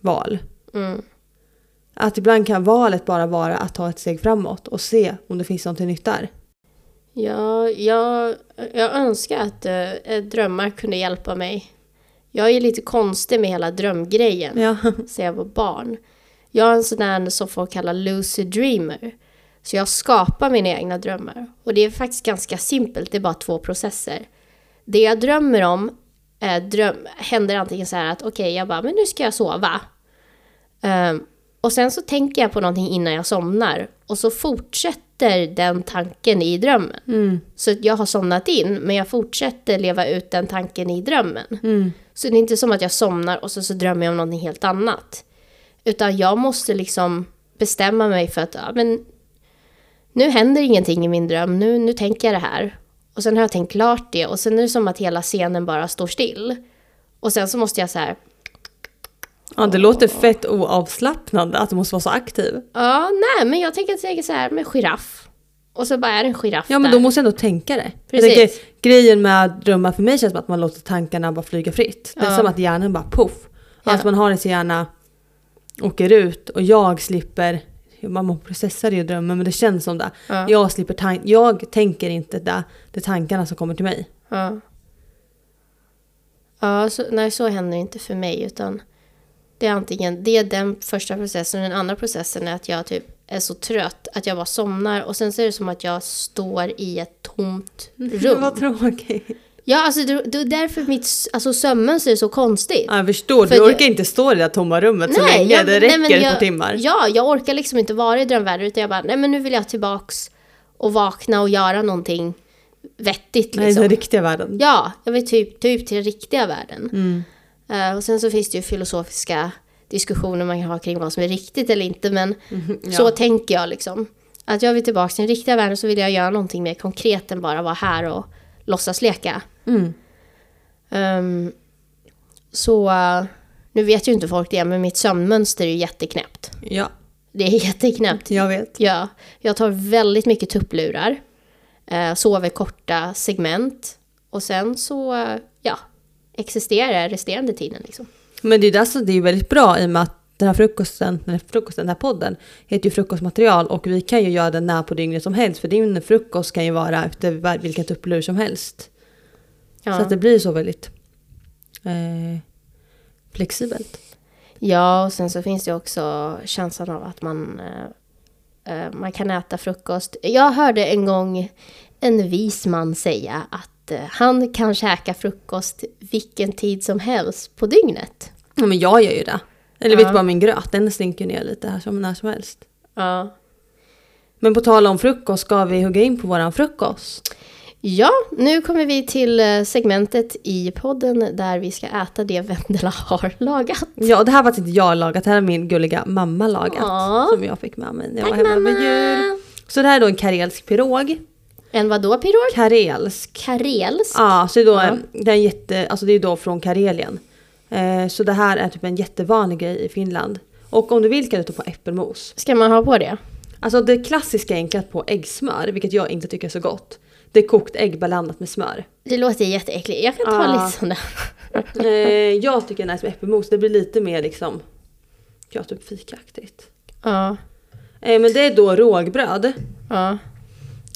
Speaker 3: val.
Speaker 2: Mm.
Speaker 3: Att ibland kan valet bara vara att ta ett steg framåt och se om det finns någonting nytt där.
Speaker 2: Ja, jag, jag önskar att eh, drömmar kunde hjälpa mig. Jag är lite konstig med hela drömgrejen
Speaker 3: Ja.
Speaker 2: sedan jag var barn. Jag är en sån där som folk kallar lucid dreamer. Så jag skapar mina egna drömmar. Och det är faktiskt ganska simpelt, det är bara två processer. Det jag drömmer om eh, dröm, händer antingen så här att okej, jag bara, men nu ska jag sova. Ehm, och sen så tänker jag på någonting innan jag somnar. Och så fortsätter den tanken i drömmen.
Speaker 3: Mm.
Speaker 2: Så att jag har somnat in, men jag fortsätter leva ut den tanken i drömmen.
Speaker 3: Mm.
Speaker 2: Så det är inte som att jag somnar och så, så drömmer jag om någonting helt annat. Utan jag måste liksom bestämma mig för att ja, men nu händer ingenting i min dröm, nu, nu tänker jag det här. Och sen har jag tänkt klart det och sen är det som att hela scenen bara står still. Och sen så måste jag så här,
Speaker 3: Ja, det låter fett oavslappnande att du måste vara så aktiv.
Speaker 2: ja nej men jag tänker att jag är så här med giraff. Och så bara är det en giraff
Speaker 3: Ja men
Speaker 2: där.
Speaker 3: då måste jag ändå tänka det. Jag
Speaker 2: Precis.
Speaker 3: tänker, grejen med drömmar för mig känns som att man låter tankarna bara flyga fritt. Det är
Speaker 2: Ja.
Speaker 3: som att hjärnan bara poff.
Speaker 2: Ja.
Speaker 3: Att man har det så gärna åker ut och jag slipper, man processar ju drömmen men det känns som det.
Speaker 2: Ja.
Speaker 3: Jag slipper tan- jag tänker inte det, det är tankarna som kommer till mig.
Speaker 2: Ja. Ja, så, nej så händer inte för mig utan det är antingen, det är den första processen och den andra processen är att jag typ är så trött att jag bara somnar och sen så är det som att jag står i ett tomt rum.
Speaker 3: Mhm. Vad tråkigt.
Speaker 2: Ja, alltså det, det är därför mitt s- alltså, sömnmönster är så konstigt.
Speaker 3: Ja, jag förstår,
Speaker 2: För
Speaker 3: du
Speaker 2: det-
Speaker 3: orkar inte stå i det där tomma rummet så länge.
Speaker 2: jag-
Speaker 3: det räcker
Speaker 2: men
Speaker 3: ett
Speaker 2: jag-
Speaker 3: par timmar.
Speaker 2: Ja, jag orkar liksom inte vara i drömvärlden utan jag bara, nej men nu vill jag tillbaks och vakna och göra någonting vettigt
Speaker 3: Nej,
Speaker 2: liksom.
Speaker 3: den riktiga världen.
Speaker 2: Ja, jag vill typ, typ till den riktiga världen. Eh, och sen så finns det ju filosofiska diskussioner man kan ha kring vad som är riktigt eller inte, men så tänker jag liksom. Att jag vill tillbaka till den riktiga världen så vill jag göra någonting mer konkret än bara vara här och låtsas leka. Ehm, så eh, nu vet ju inte folk det, men mitt sömnmönster är ju jätteknäppt.
Speaker 3: Ja,
Speaker 2: Det är jätteknäppt.
Speaker 3: jag vet.
Speaker 2: Ja, jag tar väldigt mycket tupplurar, eh, sover korta segment och sen så eh, ja, existerar jag resterande tiden. Liksom.
Speaker 3: Men det är ju det som det är väldigt bra i och med att den här frukosten, den här, frukosten, den här podden heter ju frukostmaterial och vi kan ju göra den när på dygnet som helst för din frukost kan ju vara efter var- vilket upplur som helst. Så
Speaker 2: Ja.
Speaker 3: att det blir så väldigt eh, flexibelt.
Speaker 2: ja, och sen så finns det ju också känslan av att man, eh, eh, man kan äta frukost. Jag hörde en gång en vis man säga att eh, han kan käka frukost vilken tid som helst på dygnet.
Speaker 3: Ja, men jag gör ju det. Eller
Speaker 2: Ja.
Speaker 3: vet du bara min gröt, den slinker ner lite här som när som helst.
Speaker 2: Ja,
Speaker 3: Men på tal om frukost, ska vi hugga in på våran frukost?
Speaker 2: Ja, nu kommer vi till eh, segmentet i podden där vi ska äta det Vendela har lagat.
Speaker 3: Ja, och det här var inte jag lagat, det här är min gulliga mamma lagat.
Speaker 2: Ja.
Speaker 3: Som jag fick med mig när jag
Speaker 2: Tack
Speaker 3: var hemma
Speaker 2: mamma!
Speaker 3: över jul. Så det här är då en karelsk pirog.
Speaker 2: En vadå pirog?
Speaker 3: Karelsk.
Speaker 2: Karelsk?
Speaker 3: Ja, så det är då, en- det är en jätte, alltså det är då från Karelien. Eh, så det här är typ en jättevanlig grej i Finland. Och om du vill kan du ta på äppelmos.
Speaker 2: Ska man ha på det?
Speaker 3: Alltså det klassiska är enkelt på äggsmör, vilket jag inte tycker är så gott. Det är kokt ägg blandat med smör.
Speaker 2: Det låter jätteäckligt. Jag kan ta
Speaker 3: Ah.
Speaker 2: lite sån där.
Speaker 3: Eh, jag tycker det är nice med äppelmos, det blir lite mer liksom, ja typ fikaaktigt.
Speaker 2: Ja.
Speaker 3: Eh, men det är då rågbröd
Speaker 2: Ja.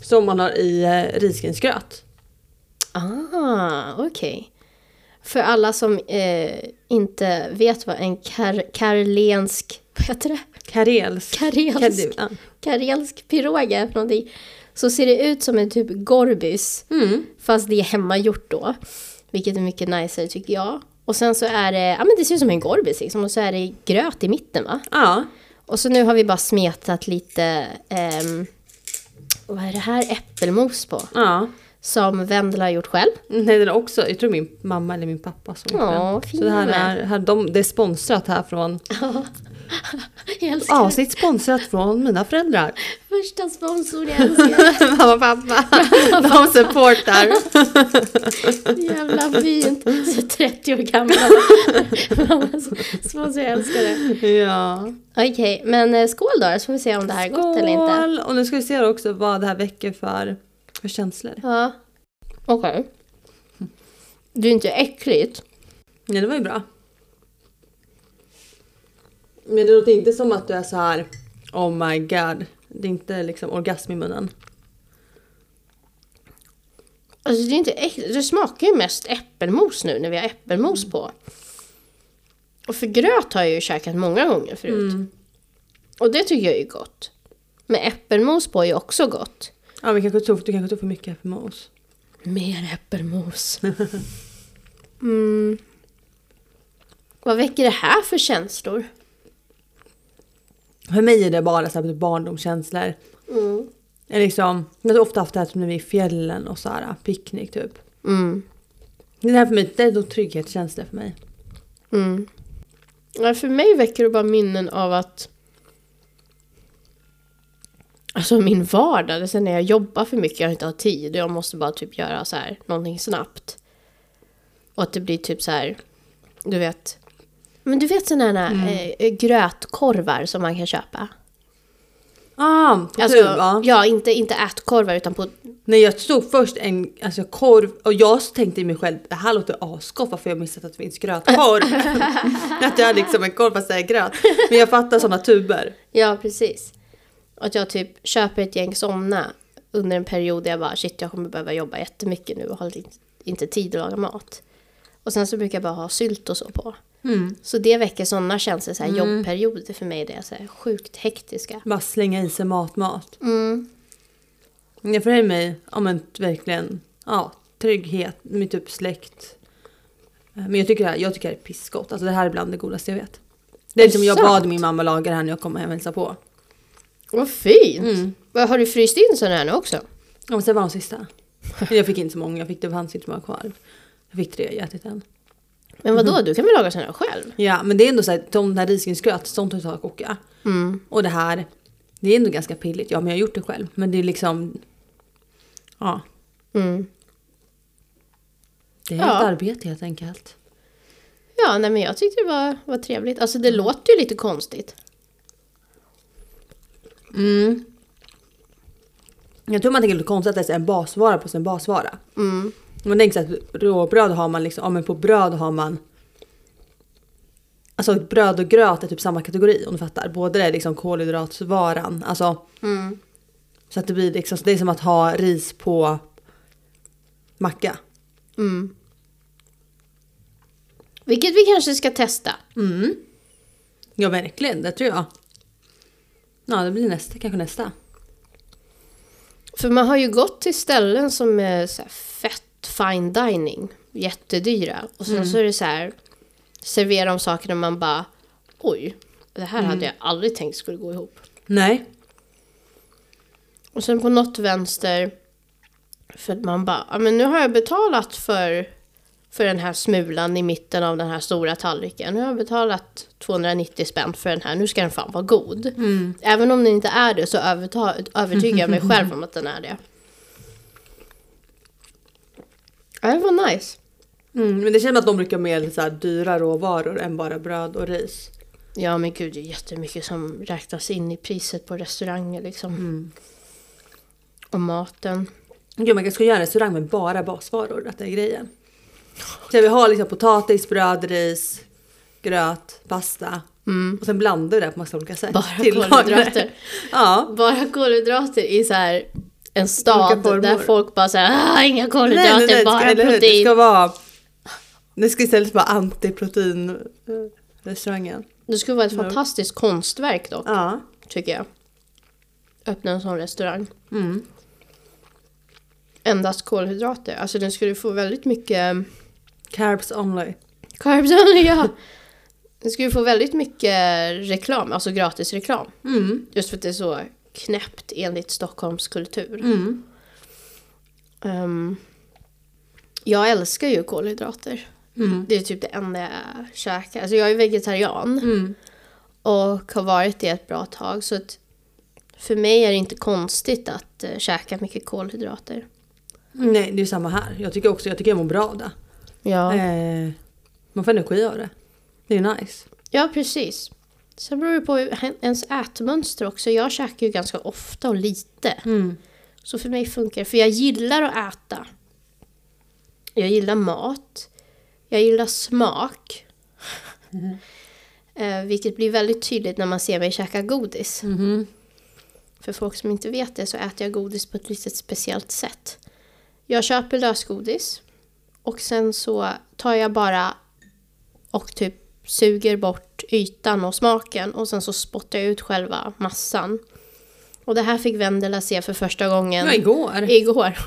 Speaker 3: som man har i eh, risgrynsgröt.
Speaker 2: Ah, okej. För alla som eh, inte vet vad en kar- karlensk... Vad heter det?
Speaker 3: Karelsk.
Speaker 2: Karelsk,
Speaker 3: Kadu- ja.
Speaker 2: karelsk piroga är för någonting. Så ser det ut som en typ gorbis.
Speaker 3: Mm.
Speaker 2: Fast det är hemmagjort då. Vilket är mycket nicer tycker jag. Och sen så är det, ja men det ser ut som en gorbis liksom. Och så är det gröt i mitten va?
Speaker 3: ja.
Speaker 2: Och så nu har vi bara smetat lite, ehm, vad är det här, äppelmos på.
Speaker 3: Ja.
Speaker 2: Som Vendela har gjort själv.
Speaker 3: Nej, den är också, jag tror min mamma eller min pappa som gjort
Speaker 2: Ja,
Speaker 3: den.
Speaker 2: fin
Speaker 3: Så det här
Speaker 2: med.
Speaker 3: är, här, de, det är sponsrat här från,
Speaker 2: Jag älskar
Speaker 3: avsnitt sponsrat från mina föräldrar.
Speaker 2: första sponsorn, jag älskar
Speaker 3: mamma och pappa, de supportar.
Speaker 2: Jävla fint. Så 30 år gammal. Mamma, så- sponsor, jag älskar det.
Speaker 3: ja.
Speaker 2: Okej, men eh, skål då så får vi se om det här är gott eller inte.
Speaker 3: Skål! Och nu ska vi se också vad det här väcker för, för känslor.
Speaker 2: Ja. Okej. Det är inte äckligt.
Speaker 3: Nej, det var ju bra. Men det låter inte som att du är så här, oh my god. Det är inte liksom orgasm i munnen.
Speaker 2: Alltså det är inte äckligt. Det smakar ju mest äppelmos nu när vi har äppelmos på. Och för gröt har jag ju käkat många gånger förut. Och det tycker jag är gott. Men äppelmos på är ju också gott.
Speaker 3: Ja, men kanske tog, du kanske tog för mycket äppelmos.
Speaker 2: Mer äppelmos. mm. Vad väcker det här för känslor?
Speaker 3: För mig är det bara så här, typ barndomskänslor.
Speaker 2: Mm.
Speaker 3: Jag, liksom, jag har ofta haft det här som när vi är i fjällen och så här, picknick typ.
Speaker 2: Mm.
Speaker 3: Det här för mig, det är då trygghetskänslor för mig.
Speaker 2: Mm. Ja, för mig väcker det bara minnen av att... Alltså min vardag, det är sen när jag jobbar för mycket, jag inte har tid och jag måste bara typ göra så här någonting snabbt. Och att det blir typ så här, du vet. Men du vet sådana här eh, grötkorvar som man kan köpa?
Speaker 3: Ah, på
Speaker 2: Alltså,
Speaker 3: tub, ja.
Speaker 2: ja, inte, inte ätkorvar utan på...
Speaker 3: Nej jag tog först en alltså, korv och jag tänkte i mig själv det här låter asgott varför har jag missat att det finns grötkorv. att jag hade liksom en korv fast det är gröt. Men jag fattar sådana tuber.
Speaker 2: Ja, precis. Att jag typ köper ett gäng sådana under en period där jag bara shit, jag kommer behöva jobba jättemycket nu och har inte- inte tid att laga mat. Och sen så brukar jag bara ha sylt och så på. Så det väcker sådana känslor, så här jobbperioder för mig, det är så här sjukt hektiska.
Speaker 3: Bara slänga i sig matmat.
Speaker 2: Mm.
Speaker 3: Jag för mig, ja men verkligen, ja trygghet med typ släkt. Men jag tycker det här, jag tycker det här är pissgott. Alltså det här är bland det godaste jag vet. Det
Speaker 2: Är
Speaker 3: är
Speaker 2: det
Speaker 3: som jag
Speaker 2: sant?
Speaker 3: bad min mamma laga det här när jag kom hem och hälsade på.
Speaker 2: Vad fint!
Speaker 3: Mm.
Speaker 2: Vad, Har du fryst in sådana här nu också?
Speaker 3: Ja, men sen var de sista. Men jag fick inte så många, jag fick det fanns inte så många kvar. Jag fick tre, jag har ätit en.
Speaker 2: Men vadå, du kan väl laga sådana här själv?
Speaker 3: Ja, men det är ändå så här, de där risgrynsgröt, sånt tar jag att koka.
Speaker 2: Mm.
Speaker 3: Och det här, det är ändå ganska pilligt. Ja, men jag har gjort det själv. Men det är liksom, ja,
Speaker 2: Mm.
Speaker 3: det är
Speaker 2: Ja.
Speaker 3: ett arbete helt enkelt.
Speaker 2: Ja, nej men jag tyckte det var, var trevligt. Alltså det låter ju lite konstigt.
Speaker 3: Mm. Jag tror man tänker lite konstigt att det är en basvara på sin basvara.
Speaker 2: Mm.
Speaker 3: Man tänker så att råbröd har man liksom, ja men på bröd har man Alltså bröd och gröt är typ samma kategori om du fattar. Både är liksom kolhydratsvaran, alltså
Speaker 2: Mm.
Speaker 3: så att det blir liksom, så det är som att ha ris på macka.
Speaker 2: Mm. Vilket vi kanske ska testa.
Speaker 3: Mm. Ja verkligen, det tror jag. Ja det blir nästa, kanske nästa.
Speaker 2: För man har ju gått till ställen som är så här fett fine dining, jättedyra. Och sen så är det så här, serverar de saker där man bara, oj, det här hade jag aldrig tänkt skulle gå ihop.
Speaker 3: Nej.
Speaker 2: Och sen på något vänster, för att man bara, ja men nu har jag betalat för, för den här smulan i mitten av den här stora tallriken. Nu har jag betalat 290 spänn för den här, nu ska den fan vara god. Även om den inte är det så överta- övertygar jag mig själv om att den är det. Ja, det var nice.
Speaker 3: Mm, men det känns som att de brukar mer så här dyra råvaror än bara bröd och ris.
Speaker 2: Ja men gud, det är jättemycket som räknas in i priset på restauranger liksom. Och maten.
Speaker 3: Gud, man kanske ska göra en restaurang med bara basvaror, att det är grejen. Så vi har liksom potatis, bröd, ris, gröt, pasta. Och sen blandar vi det på massa olika sätt.
Speaker 2: Mm. Bara
Speaker 3: Tillagar.
Speaker 2: kolhydrater.
Speaker 3: Ja.
Speaker 2: Bara kolhydrater i så här en
Speaker 3: Olika
Speaker 2: stad
Speaker 3: former.
Speaker 2: där folk bara såhär, "Ah, inga kolhydrater,
Speaker 3: Nej, nej, nej,
Speaker 2: bara
Speaker 3: ska, eller hur? Det
Speaker 2: protein.
Speaker 3: ska vara... Det ska istället vara eh, antiprotein-restaurangen.
Speaker 2: Det skulle vara ett fantastiskt konstverk dock,
Speaker 3: Ja.
Speaker 2: tycker jag. Öppna en sån restaurang.
Speaker 3: Mm.
Speaker 2: Endast kolhydrater. Alltså den skulle få väldigt mycket
Speaker 3: Carbs only.
Speaker 2: carbs only, ja. Den skulle få väldigt mycket reklam, alltså gratis reklam.
Speaker 3: Mm.
Speaker 2: Just för att det är så knäppt enligt Stockholms kultur.
Speaker 3: Mm.
Speaker 2: Ehm, jag älskar ju kolhydrater.
Speaker 3: Mm.
Speaker 2: Det är typ det enda jag käkar. Alltså jag är vegetarian.
Speaker 3: Mm.
Speaker 2: Och har varit det ett bra tag. Så att för mig är det inte konstigt att eh, käka mycket kolhydrater.
Speaker 3: Nej, det är samma här. Jag tycker också, jag tycker jag mår bra av det.
Speaker 2: Ja,
Speaker 3: Eh, man får energi av det. Det är nice.
Speaker 2: ja precis. Sen beror det på hur- ens ätmönster också. Jag käkar ju ganska ofta och lite.
Speaker 3: Mm.
Speaker 2: Så för mig funkar det. För jag gillar att äta. Jag gillar mat. Jag gillar smak. Eh, vilket blir väldigt tydligt när man ser mig käka godis.
Speaker 3: Mhm.
Speaker 2: För folk som inte vet det så äter jag godis på ett litet speciellt sätt. Jag köper lösgodis och sen så tar jag bara och typ suger bort ytan och smaken och sen så spottar jag ut själva massan. Och det här fick Vendela se för första gången
Speaker 3: Ja, igår.
Speaker 2: igår.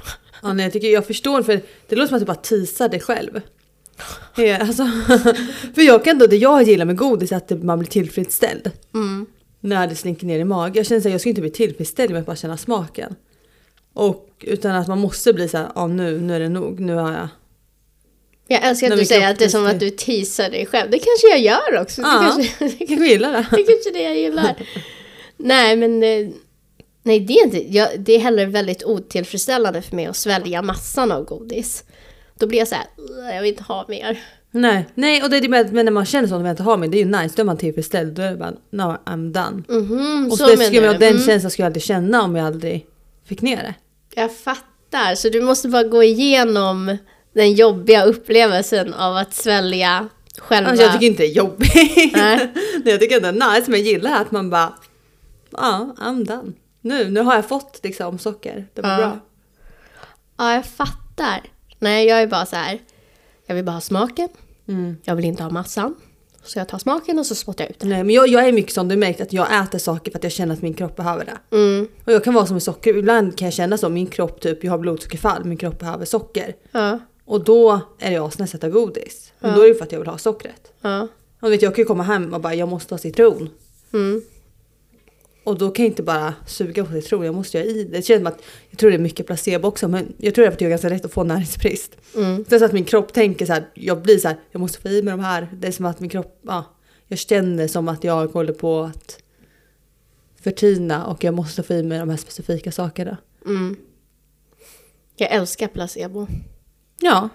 Speaker 3: Ja, nej, jag, tycker, jag förstår, för det låter som att du bara teasar dig själv. Eh, Alltså, för jag kan ändå, det jag gillar med godis är att det- man blir tillfredsställd.
Speaker 2: Mm.
Speaker 3: När det slinker ner i magen. Jag känner att jag ska inte bli tillfredsställd med att bara känna smaken. Och, utan att man måste bli så här, ja nu, nu är det nog, nu har jag...
Speaker 2: Jag älskar att
Speaker 3: Nej,
Speaker 2: du
Speaker 3: men
Speaker 2: säger
Speaker 3: kropp-
Speaker 2: att det är som att du teasar dig själv. Det kanske jag gör också.
Speaker 3: Ja.
Speaker 2: Det, kanske,
Speaker 3: Jag kanske gillar det.
Speaker 2: det kanske är det jag gillar. nej, men eh, nej, det är inte. Jag, det är heller väldigt otillfredsställande för mig att svälja massan av godis. Då blir jag så här, "Ugh, jag vill inte ha mer.
Speaker 3: Nej, nej och det är det med, men när man känner sånt och väntar ha men det är ju nice, då är man tillfredsställd. Då är det bara, no I'm done.
Speaker 2: Mhm,
Speaker 3: Och
Speaker 2: så
Speaker 3: så det, skulle
Speaker 2: menar
Speaker 3: jag,
Speaker 2: du.
Speaker 3: den
Speaker 2: Mm,
Speaker 3: känslan skulle jag aldrig känna om jag aldrig fick ner det.
Speaker 2: jag fattar. Så du måste bara gå igenom den jobbiga upplevelsen av att svälja själva.
Speaker 3: Alltså, jag tycker inte det är jobbigt.
Speaker 2: Mm, Nej.
Speaker 3: Nej. jag tycker ändå det är nice, men jag gillar att man bara, ja, I'm done. Nu, nu har jag fått liksom socker, det var
Speaker 2: Ja.
Speaker 3: bra.
Speaker 2: Ja, jag fattar. Nej, jag är bara så här. Jag vill bara ha smaken.
Speaker 3: Mm.
Speaker 2: Jag vill inte ha massan. Så jag tar smaken och så spottar jag ut den.
Speaker 3: Nej, men jag, jag är mycket som du märkt att jag äter saker för att jag känner att min kropp behöver det.
Speaker 2: Mm,
Speaker 3: Och jag kan vara som med socker, ibland kan jag känna så, min kropp typ, jag har blodsockerfall, min kropp behöver socker.
Speaker 2: Ja,
Speaker 3: Och då är jag asnice att äta godis. Men då är det för att jag vill ha sockret.
Speaker 2: ja.
Speaker 3: Och vet, jag kan ju komma hem och bara, jag måste ha citron.
Speaker 2: Mm.
Speaker 3: Och då kan jag inte bara suga på citron, jag måste ju ha i det. Det känns som att, jag tror det är mycket placebo också, men jag tror det är för att jag är ganska lätt att få näringsbrist.
Speaker 2: Mm.
Speaker 3: Det är så att min kropp tänker så här, jag blir så här, jag måste få i mig de här. Det är som att min kropp, ja, jag känner som att jag håller på att förtina och jag måste få i mig de här specifika sakerna.
Speaker 2: Mm. Jag älskar placebo.
Speaker 3: Ja.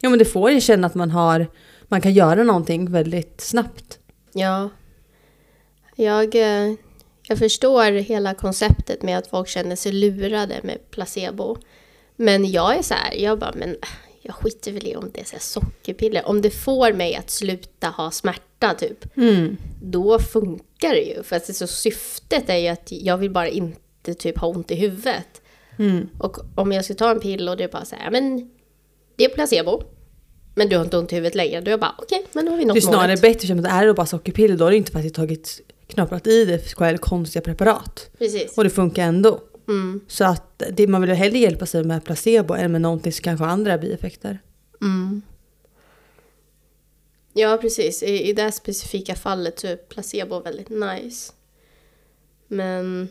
Speaker 3: Ja men det får ju känna att man har, man kan göra någonting väldigt snabbt.
Speaker 2: Ja. Jag, eh, jag förstår hela konceptet med att folk känner sig lurade med placebo. Men jag är så här, jag bara, men äh, jag skiter väl i om det är så här sockerpiller. Om det får mig att sluta ha smärta typ. då funkar det ju. För att så syftet är ju att jag vill bara inte typ ha ont i huvudet.
Speaker 3: Mm.
Speaker 2: Och om jag ska ta en pill och det är bara så här, men det är placebo. Men du har inte ont i huvudet längre. Då är jag bara, okej, men då har vi
Speaker 3: Det är
Speaker 2: nått
Speaker 3: snarare
Speaker 2: målet.
Speaker 3: bättre, för att är det bara sockerpiller då har du inte faktiskt tagit, knaprat i dig själv konstiga preparat.
Speaker 2: Precis.
Speaker 3: Och det funkar ändå.
Speaker 2: Mm.
Speaker 3: Så att det, man vill ju hellre hjälpa sig med placebo än med någonting som kanske har andra bieffekter.
Speaker 2: Ja, precis. I, I det här specifika fallet så är placebo väldigt nice. Men...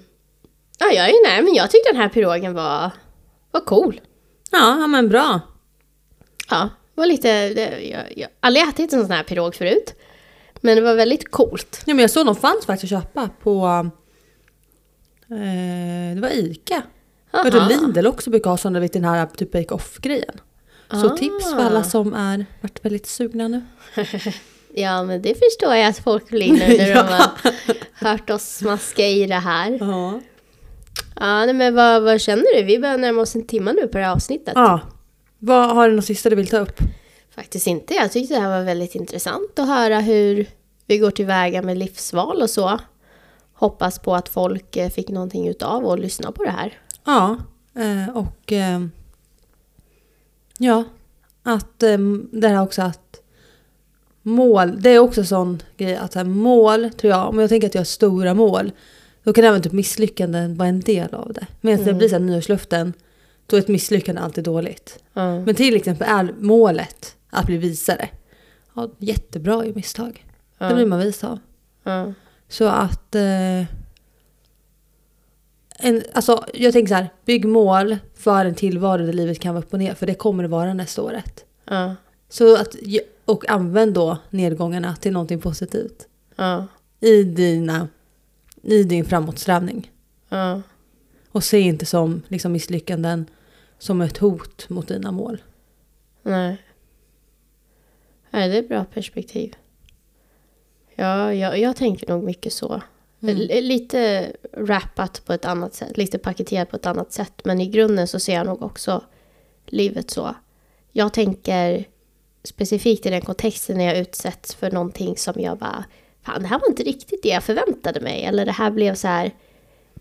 Speaker 2: Ja, jag, är- nej, men jag tyckte den här pirogen var, var cool.
Speaker 3: Ja, ja, men bra.
Speaker 2: Ja, det var lite... Det, jag, jag har aldrig ätit en sån här pirog förut. Men det var väldigt coolt.
Speaker 3: Ja, men jag såg de fanns faktiskt att köpa på... Eh, det var Ica. Jag tror
Speaker 2: Aha.
Speaker 3: Lidl också brukar ha sådana, vet, den här typ bake-off-grejen. Så
Speaker 2: Ah.
Speaker 3: tips för alla som är, varit väldigt sugna nu.
Speaker 2: Ja, men det förstår jag att folk blir nu när de har hört oss smaska i det här.
Speaker 3: Ja.
Speaker 2: Ja, nej, men vad, vad känner du? Vi börjar närma oss en timme nu på det här avsnittet.
Speaker 3: ja. Vad, har du något sista du vill ta upp?
Speaker 2: Faktiskt inte. Jag tyckte det här var väldigt intressant att höra hur vi går tillväga med livsval och så. Hoppas på att folk eh, fick någonting utav och lyssna på det här.
Speaker 3: Ja, eh, och eh, ja, att eh, det här också att mål, det är också en sån grej att så här, mål tror jag, om jag tänker att jag har stora mål, då kan även typ misslyckanden vara en del av det. Men när det blir så här nyårslöften, då är ett misslyckande alltid dåligt.
Speaker 2: Mm.
Speaker 3: Men till exempel är målet att bli visare. Ja, jättebra i misstag. Det blir man vis av.
Speaker 2: Mm.
Speaker 3: Så att... Eh, en, alltså, jag tänker så här, bygg mål för en tillvaro där livet kan vara upp och ner, för det kommer det vara nästa året.
Speaker 2: Ja,
Speaker 3: Så att, och använd då nedgångarna till någonting positivt
Speaker 2: ja,
Speaker 3: i, dina, i din framåtsträvning.
Speaker 2: ja.
Speaker 3: Och se inte som liksom, misslyckanden som ett hot mot dina mål.
Speaker 2: Nej. Nej, det är ett bra perspektiv. Ja, jag, jag tänker nog mycket så. L- eh, lite rappat på ett annat sätt, lite paketerat på ett annat sätt. Men i grunden så ser jag nog också livet så. Jag tänker specifikt i den kontexten när jag utsätts för någonting som jag bara, fan det här var inte riktigt det jag förväntade mig. Eller det här blev så här,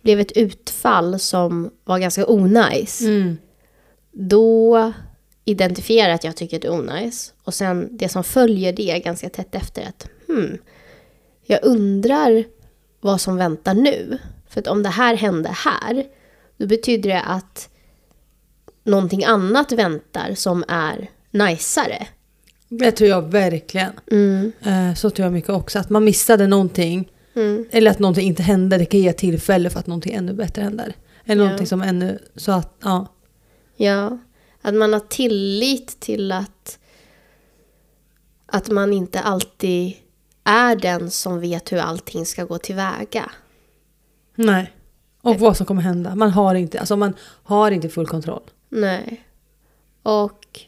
Speaker 2: blev ett utfall som var ganska onajs då identifierar jag att jag tycker det är onajs. Och sen det som följer det är ganska tätt efter att hmm, jag undrar vad som väntar nu. För att om det här hände här, då betyder det att någonting annat väntar som är najsare.
Speaker 3: Det tror jag verkligen. Eh, Så tror jag mycket också. Att man missade någonting.
Speaker 2: Mm,
Speaker 3: Eller att någonting inte hände. Det kan ge tillfälle för att någonting ännu bättre händer. Eller
Speaker 2: Ja.
Speaker 3: någonting som ännu... Så att, ja.
Speaker 2: Ja, att man har tillit till att, att man inte alltid är den som vet hur allting ska gå tillväga.
Speaker 3: Nej. Och vad som kommer hända. Man har inte, alltså man har inte full kontroll.
Speaker 2: Nej. Och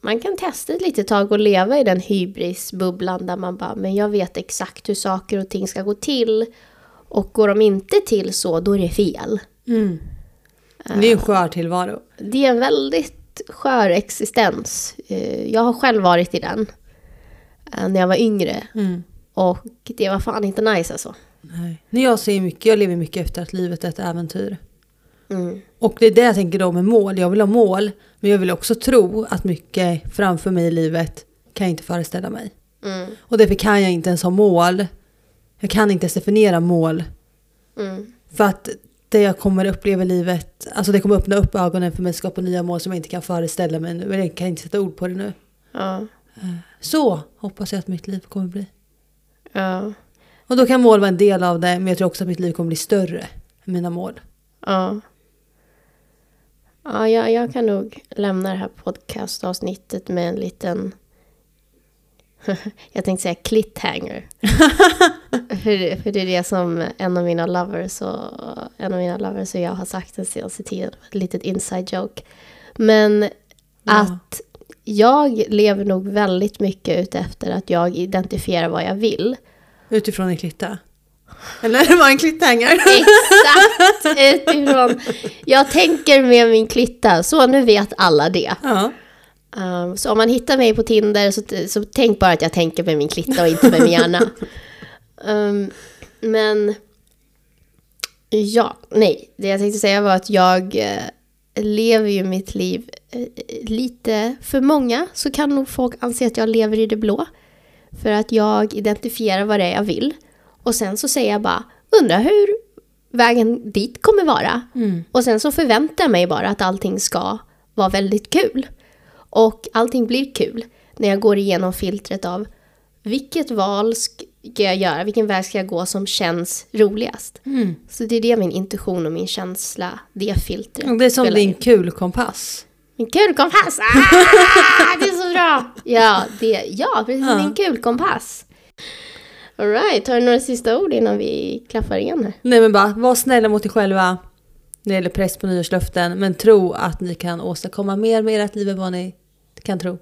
Speaker 2: man kan testa ett litet tag och leva i den hybrisbubblan där man bara, men jag vet exakt hur saker och ting ska gå till. Och går de inte till så, då är det fel.
Speaker 3: Det är en skör tillvaro.
Speaker 2: Det är en väldigt skör existens. Eh, Jag har själv varit i den eh, när jag var yngre. Och det var fan inte nice alltså.
Speaker 3: Nej. När jag ser mycket, jag lever mycket efter att livet är ett äventyr.
Speaker 2: Mm.
Speaker 3: Och det är det jag tänker då med mål. Jag vill ha mål. Men jag vill också tro att mycket framför mig i livet kan jag inte föreställa mig.
Speaker 2: Mm.
Speaker 3: Och därför kan jag inte ens ha mål. Jag kan inte ens definiera mål.
Speaker 2: Mm.
Speaker 3: För att det jag kommer uppleva i livet, alltså det kommer öppna upp ögonen för mig, skapa nya mål som jag inte kan föreställa mig nu. Eller jag kan inte sätta ord på det nu.
Speaker 2: Ja.
Speaker 3: Så hoppas jag att mitt liv kommer bli.
Speaker 2: Ja.
Speaker 3: Och då kan mål vara en del av det, men jag tror också att mitt liv kommer bli större än mina mål.
Speaker 2: Ja. Ja, jag, jag kan nog lämna det här podcastavsnittet med en liten... jag tänkte säga clithanger. för, det- för det är det som en av mina lovers och, en av mina lovers och jag har sagt den senaste tiden. Ett litet inside joke. Men att jag lever nog väldigt mycket ute efter att jag identifierar vad jag vill.
Speaker 3: Utifrån en klitta. Eller det var en cliffhanger.
Speaker 2: Exakt! Utifrån. Jag tänker med min klitta, så nu vet alla det.
Speaker 3: ja.
Speaker 2: Um, så om man hittar mig på Tinder så, t- så tänk bara att jag tänker med min klitta och inte med min hjärna. Um, men... Ja, nej. Det jag tänkte säga var att jag eh, lever ju mitt liv eh, lite för många så kan nog folk anse att jag lever i det blå. För att jag identifierar vad det är jag vill. Och sen så säger jag bara, undrar hur vägen dit kommer vara.
Speaker 3: Mm.
Speaker 2: Och sen så förväntar jag mig bara att allting ska vara väldigt kul. Och allting blir kul när jag går igenom filtret av vilket val ska jag göra, vilken väg ska jag gå som känns roligast.
Speaker 3: Mm.
Speaker 2: Så det är det min intuition och min känsla, det filtret.
Speaker 3: Det är som
Speaker 2: spelar
Speaker 3: din
Speaker 2: in.
Speaker 3: kulkompass.
Speaker 2: Min kulkompass! Ah, det är så bra! Ja, det, ja precis. Min kulkompass. Alright, har du några sista ord innan vi klaffar igen här?
Speaker 3: Nej men bara, var snälla mot er själva när det gäller press på nyårslöften. Men tro att ni kan åstadkomma mer med ert liv än vad ni kan tro.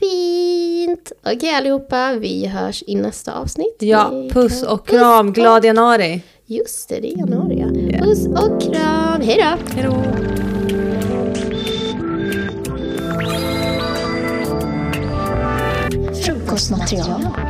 Speaker 2: Fint! Okej allihopa, vi hörs i nästa avsnitt.
Speaker 3: Ja,
Speaker 2: Vi
Speaker 3: puss
Speaker 2: kan-
Speaker 3: och kram. Glad januari.
Speaker 2: Just det, det är januari ja. Puss och kram, hej då!
Speaker 3: Hejdå.
Speaker 1: Frukostmaterial.